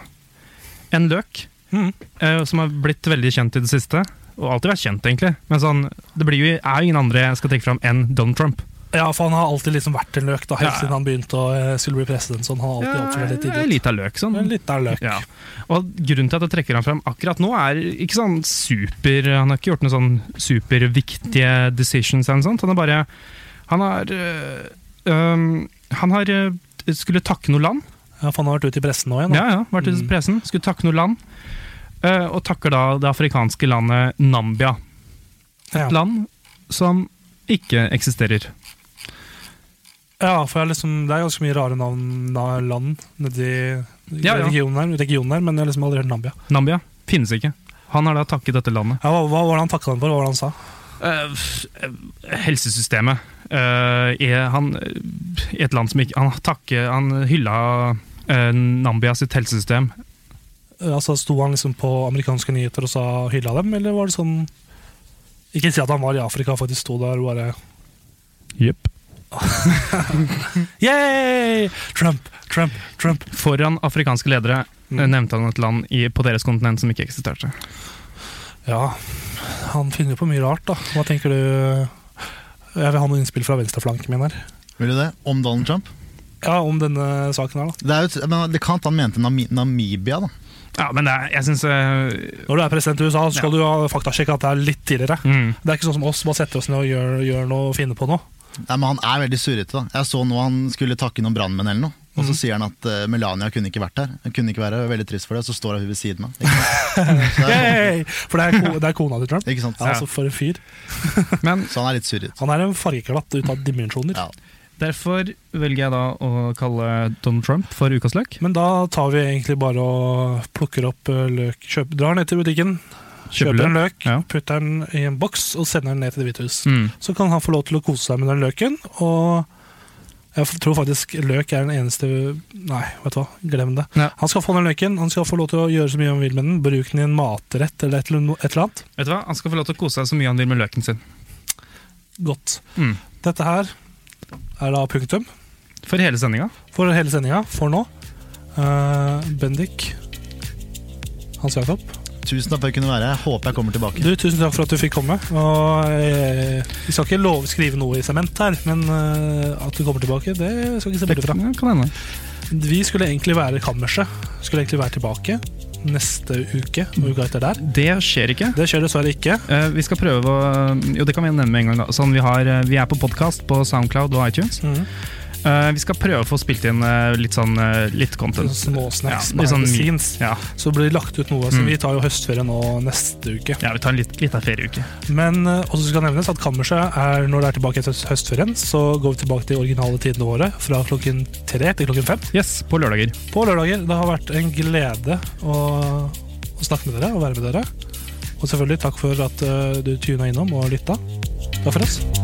Speaker 1: en løk
Speaker 2: Mhm.
Speaker 1: eh, som har blitt veldig kjent i det siste. Og alltid vært kjent, egentlig. Men sånn, det blir jo, er jo ingen andre jeg skal trekke fram enn Donald Trump.
Speaker 2: Ja, for han har alltid liksom vært en løk, da, helt
Speaker 1: Ja.
Speaker 2: siden han begynte å eh, skulle bli president. Sånn, han har alltid oppført seg litt
Speaker 1: Ja, en
Speaker 2: idiot.
Speaker 1: liten løk, sånn.
Speaker 2: En liten løk.
Speaker 1: Ja. Og grunnen til at jeg trekker han fram akkurat nå, er ikke sånn super Han har ikke gjort noen sånn superviktige decisions eller noe sånt. Han har bare Han har øh, øhm, Han har øh, skulle takke noe land.
Speaker 2: Ja, for han har vært ute i pressen nå igjen. da.
Speaker 1: Ja, ja, vært i
Speaker 2: Mm.
Speaker 1: pressen. Skulle takke noe land. øh, og takker da det afrikanske landet Nambia.
Speaker 2: Ja.
Speaker 1: Land som ikke eksisterer.
Speaker 2: ja, for jeg har liksom, det er ganske mye rare navn av land nedi i
Speaker 1: Ja, ja.
Speaker 2: regionen, her, regionen her, men jeg har liksom aldri hørt Nambia.
Speaker 1: Nambia finnes ikke. Han har da takket dette landet.
Speaker 2: Ja, hva, hva var det han takka han for? Hva var det han sa?
Speaker 1: Eh, f- eh, helsesystemet eh, er han eh, i et land som ikke Han takker Han hylla eh, Nambia sitt helsesystem.
Speaker 2: Eh, Altså, Sto han liksom på amerikanske nyheter og sa hylla dem, eller var det sånn Ikke si at han var i Afrika, faktisk sto der og bare
Speaker 1: Jepp.
Speaker 2: Yeah! Trump, Trump, Trump.
Speaker 1: Foran afrikanske ledere
Speaker 2: Mm.
Speaker 1: eh, nevnte han et land i, på deres kontinent som ikke eksisterte.
Speaker 2: Ja, han finner på mye rart, da. Hva tenker du Jeg vil ha noen innspill fra venstreflanken min her.
Speaker 4: Vil du det? Om Donald Trump?
Speaker 2: Ja, om denne saken her, da.
Speaker 4: Det, er jo, et- men det kan hende han mente Nami Namibia, da.
Speaker 1: Ja, men det, er- jeg syns eh,
Speaker 2: Når du er president i USA, så skal du ha faktasjekk at det er litt tidligere.
Speaker 1: mm,
Speaker 2: Det er ikke sånn som oss, bare setter oss ned og gjør, gjør noe og finner på noe.
Speaker 4: Nei, men Han er veldig surrete. da Jeg så nå han skulle takke noen brannmenn eller noe. Og så sier han at eh, Melania kunne ikke vært her. Hun kunne ikke være her, veldig trist for det, og så står hun ved siden av. Ikke sant? Så det er-
Speaker 2: Yay! For det er, ko, det er kona til Trump.
Speaker 4: Ikke sant?
Speaker 2: Ja, altså For en fyr.
Speaker 1: Men
Speaker 4: Så han er litt surret.
Speaker 2: Han er en fargeklatt ut av dimensjoner.
Speaker 4: Ja.
Speaker 1: derfor velger jeg da å kalle Donald Trump for ukas løk.
Speaker 2: Men da tar vi egentlig bare og plukker opp eh, løk kjøp, Drar ned til butikken,
Speaker 1: Kjøper
Speaker 2: kjøper en løk,
Speaker 1: Ja.
Speaker 2: putter den i en boks og sender den ned til Det hvite hus.
Speaker 1: Mm.
Speaker 2: så kan han få lov til å kose seg med den løken. Og jeg tror faktisk løk er den eneste Nei, vet du hva, glem det.
Speaker 1: Ja.
Speaker 2: Han skal få den løken, han skal få lov til å gjøre så mye han vil med den. Bruke den i en matrett eller et, eller annet- et eller annet.
Speaker 1: Vet du hva? Han skal få lov til å kose seg så mye han vil med løken sin.
Speaker 2: Godt.
Speaker 1: Mm.
Speaker 2: Dette her er da punktum
Speaker 1: For hele sendinga.
Speaker 2: for hele sendinga for nå. Eh, Bendik, Hans Jakob,
Speaker 4: Tusen takk for at jeg kunne være her. Jeg Håper jeg kommer tilbake.
Speaker 2: du, tusen takk for at du fikk komme. Og eh, Vi skal ikke love skrive noe i sement her, men eh, at du kommer tilbake, det skal vi ikke se bort fra.
Speaker 1: Ja, kan hende.
Speaker 2: Vi skulle egentlig være kammerset. Skulle egentlig være tilbake neste uke og uka etter der.
Speaker 1: Det skjer ikke.
Speaker 2: Det skjer dessverre ikke.
Speaker 1: Eh, vi skal prøve å Jo, det kan vi nevne med en gang. da sånn, vi, har, eh, vi er på podkast på Soundcloud og iTunes.
Speaker 2: Mhm.
Speaker 1: Eh, vi skal prøve å få spilt inn eh, litt sånn eh, litt content.
Speaker 2: Små snacks
Speaker 1: Ja, litt sånn
Speaker 2: behind the
Speaker 1: mi-
Speaker 2: scenes.
Speaker 1: Ja,
Speaker 2: Så blir det lagt ut noe. Så
Speaker 1: Mm.
Speaker 2: vi tar jo høstferie nå neste uke.
Speaker 1: ja, vi tar en litt, litt av ferieuke.
Speaker 2: Men eh, også skal nevnes at kammerset er når det er tilbake etter høstferien, så går vi tilbake til de originale tidene våre fra klokken tre til klokken fem
Speaker 1: Yes, på lørdager.
Speaker 2: på lørdager. Det har vært en glede å, å snakke med dere og være med dere. Og selvfølgelig takk for at eh, du tuna innom og lytta. Takk for oss.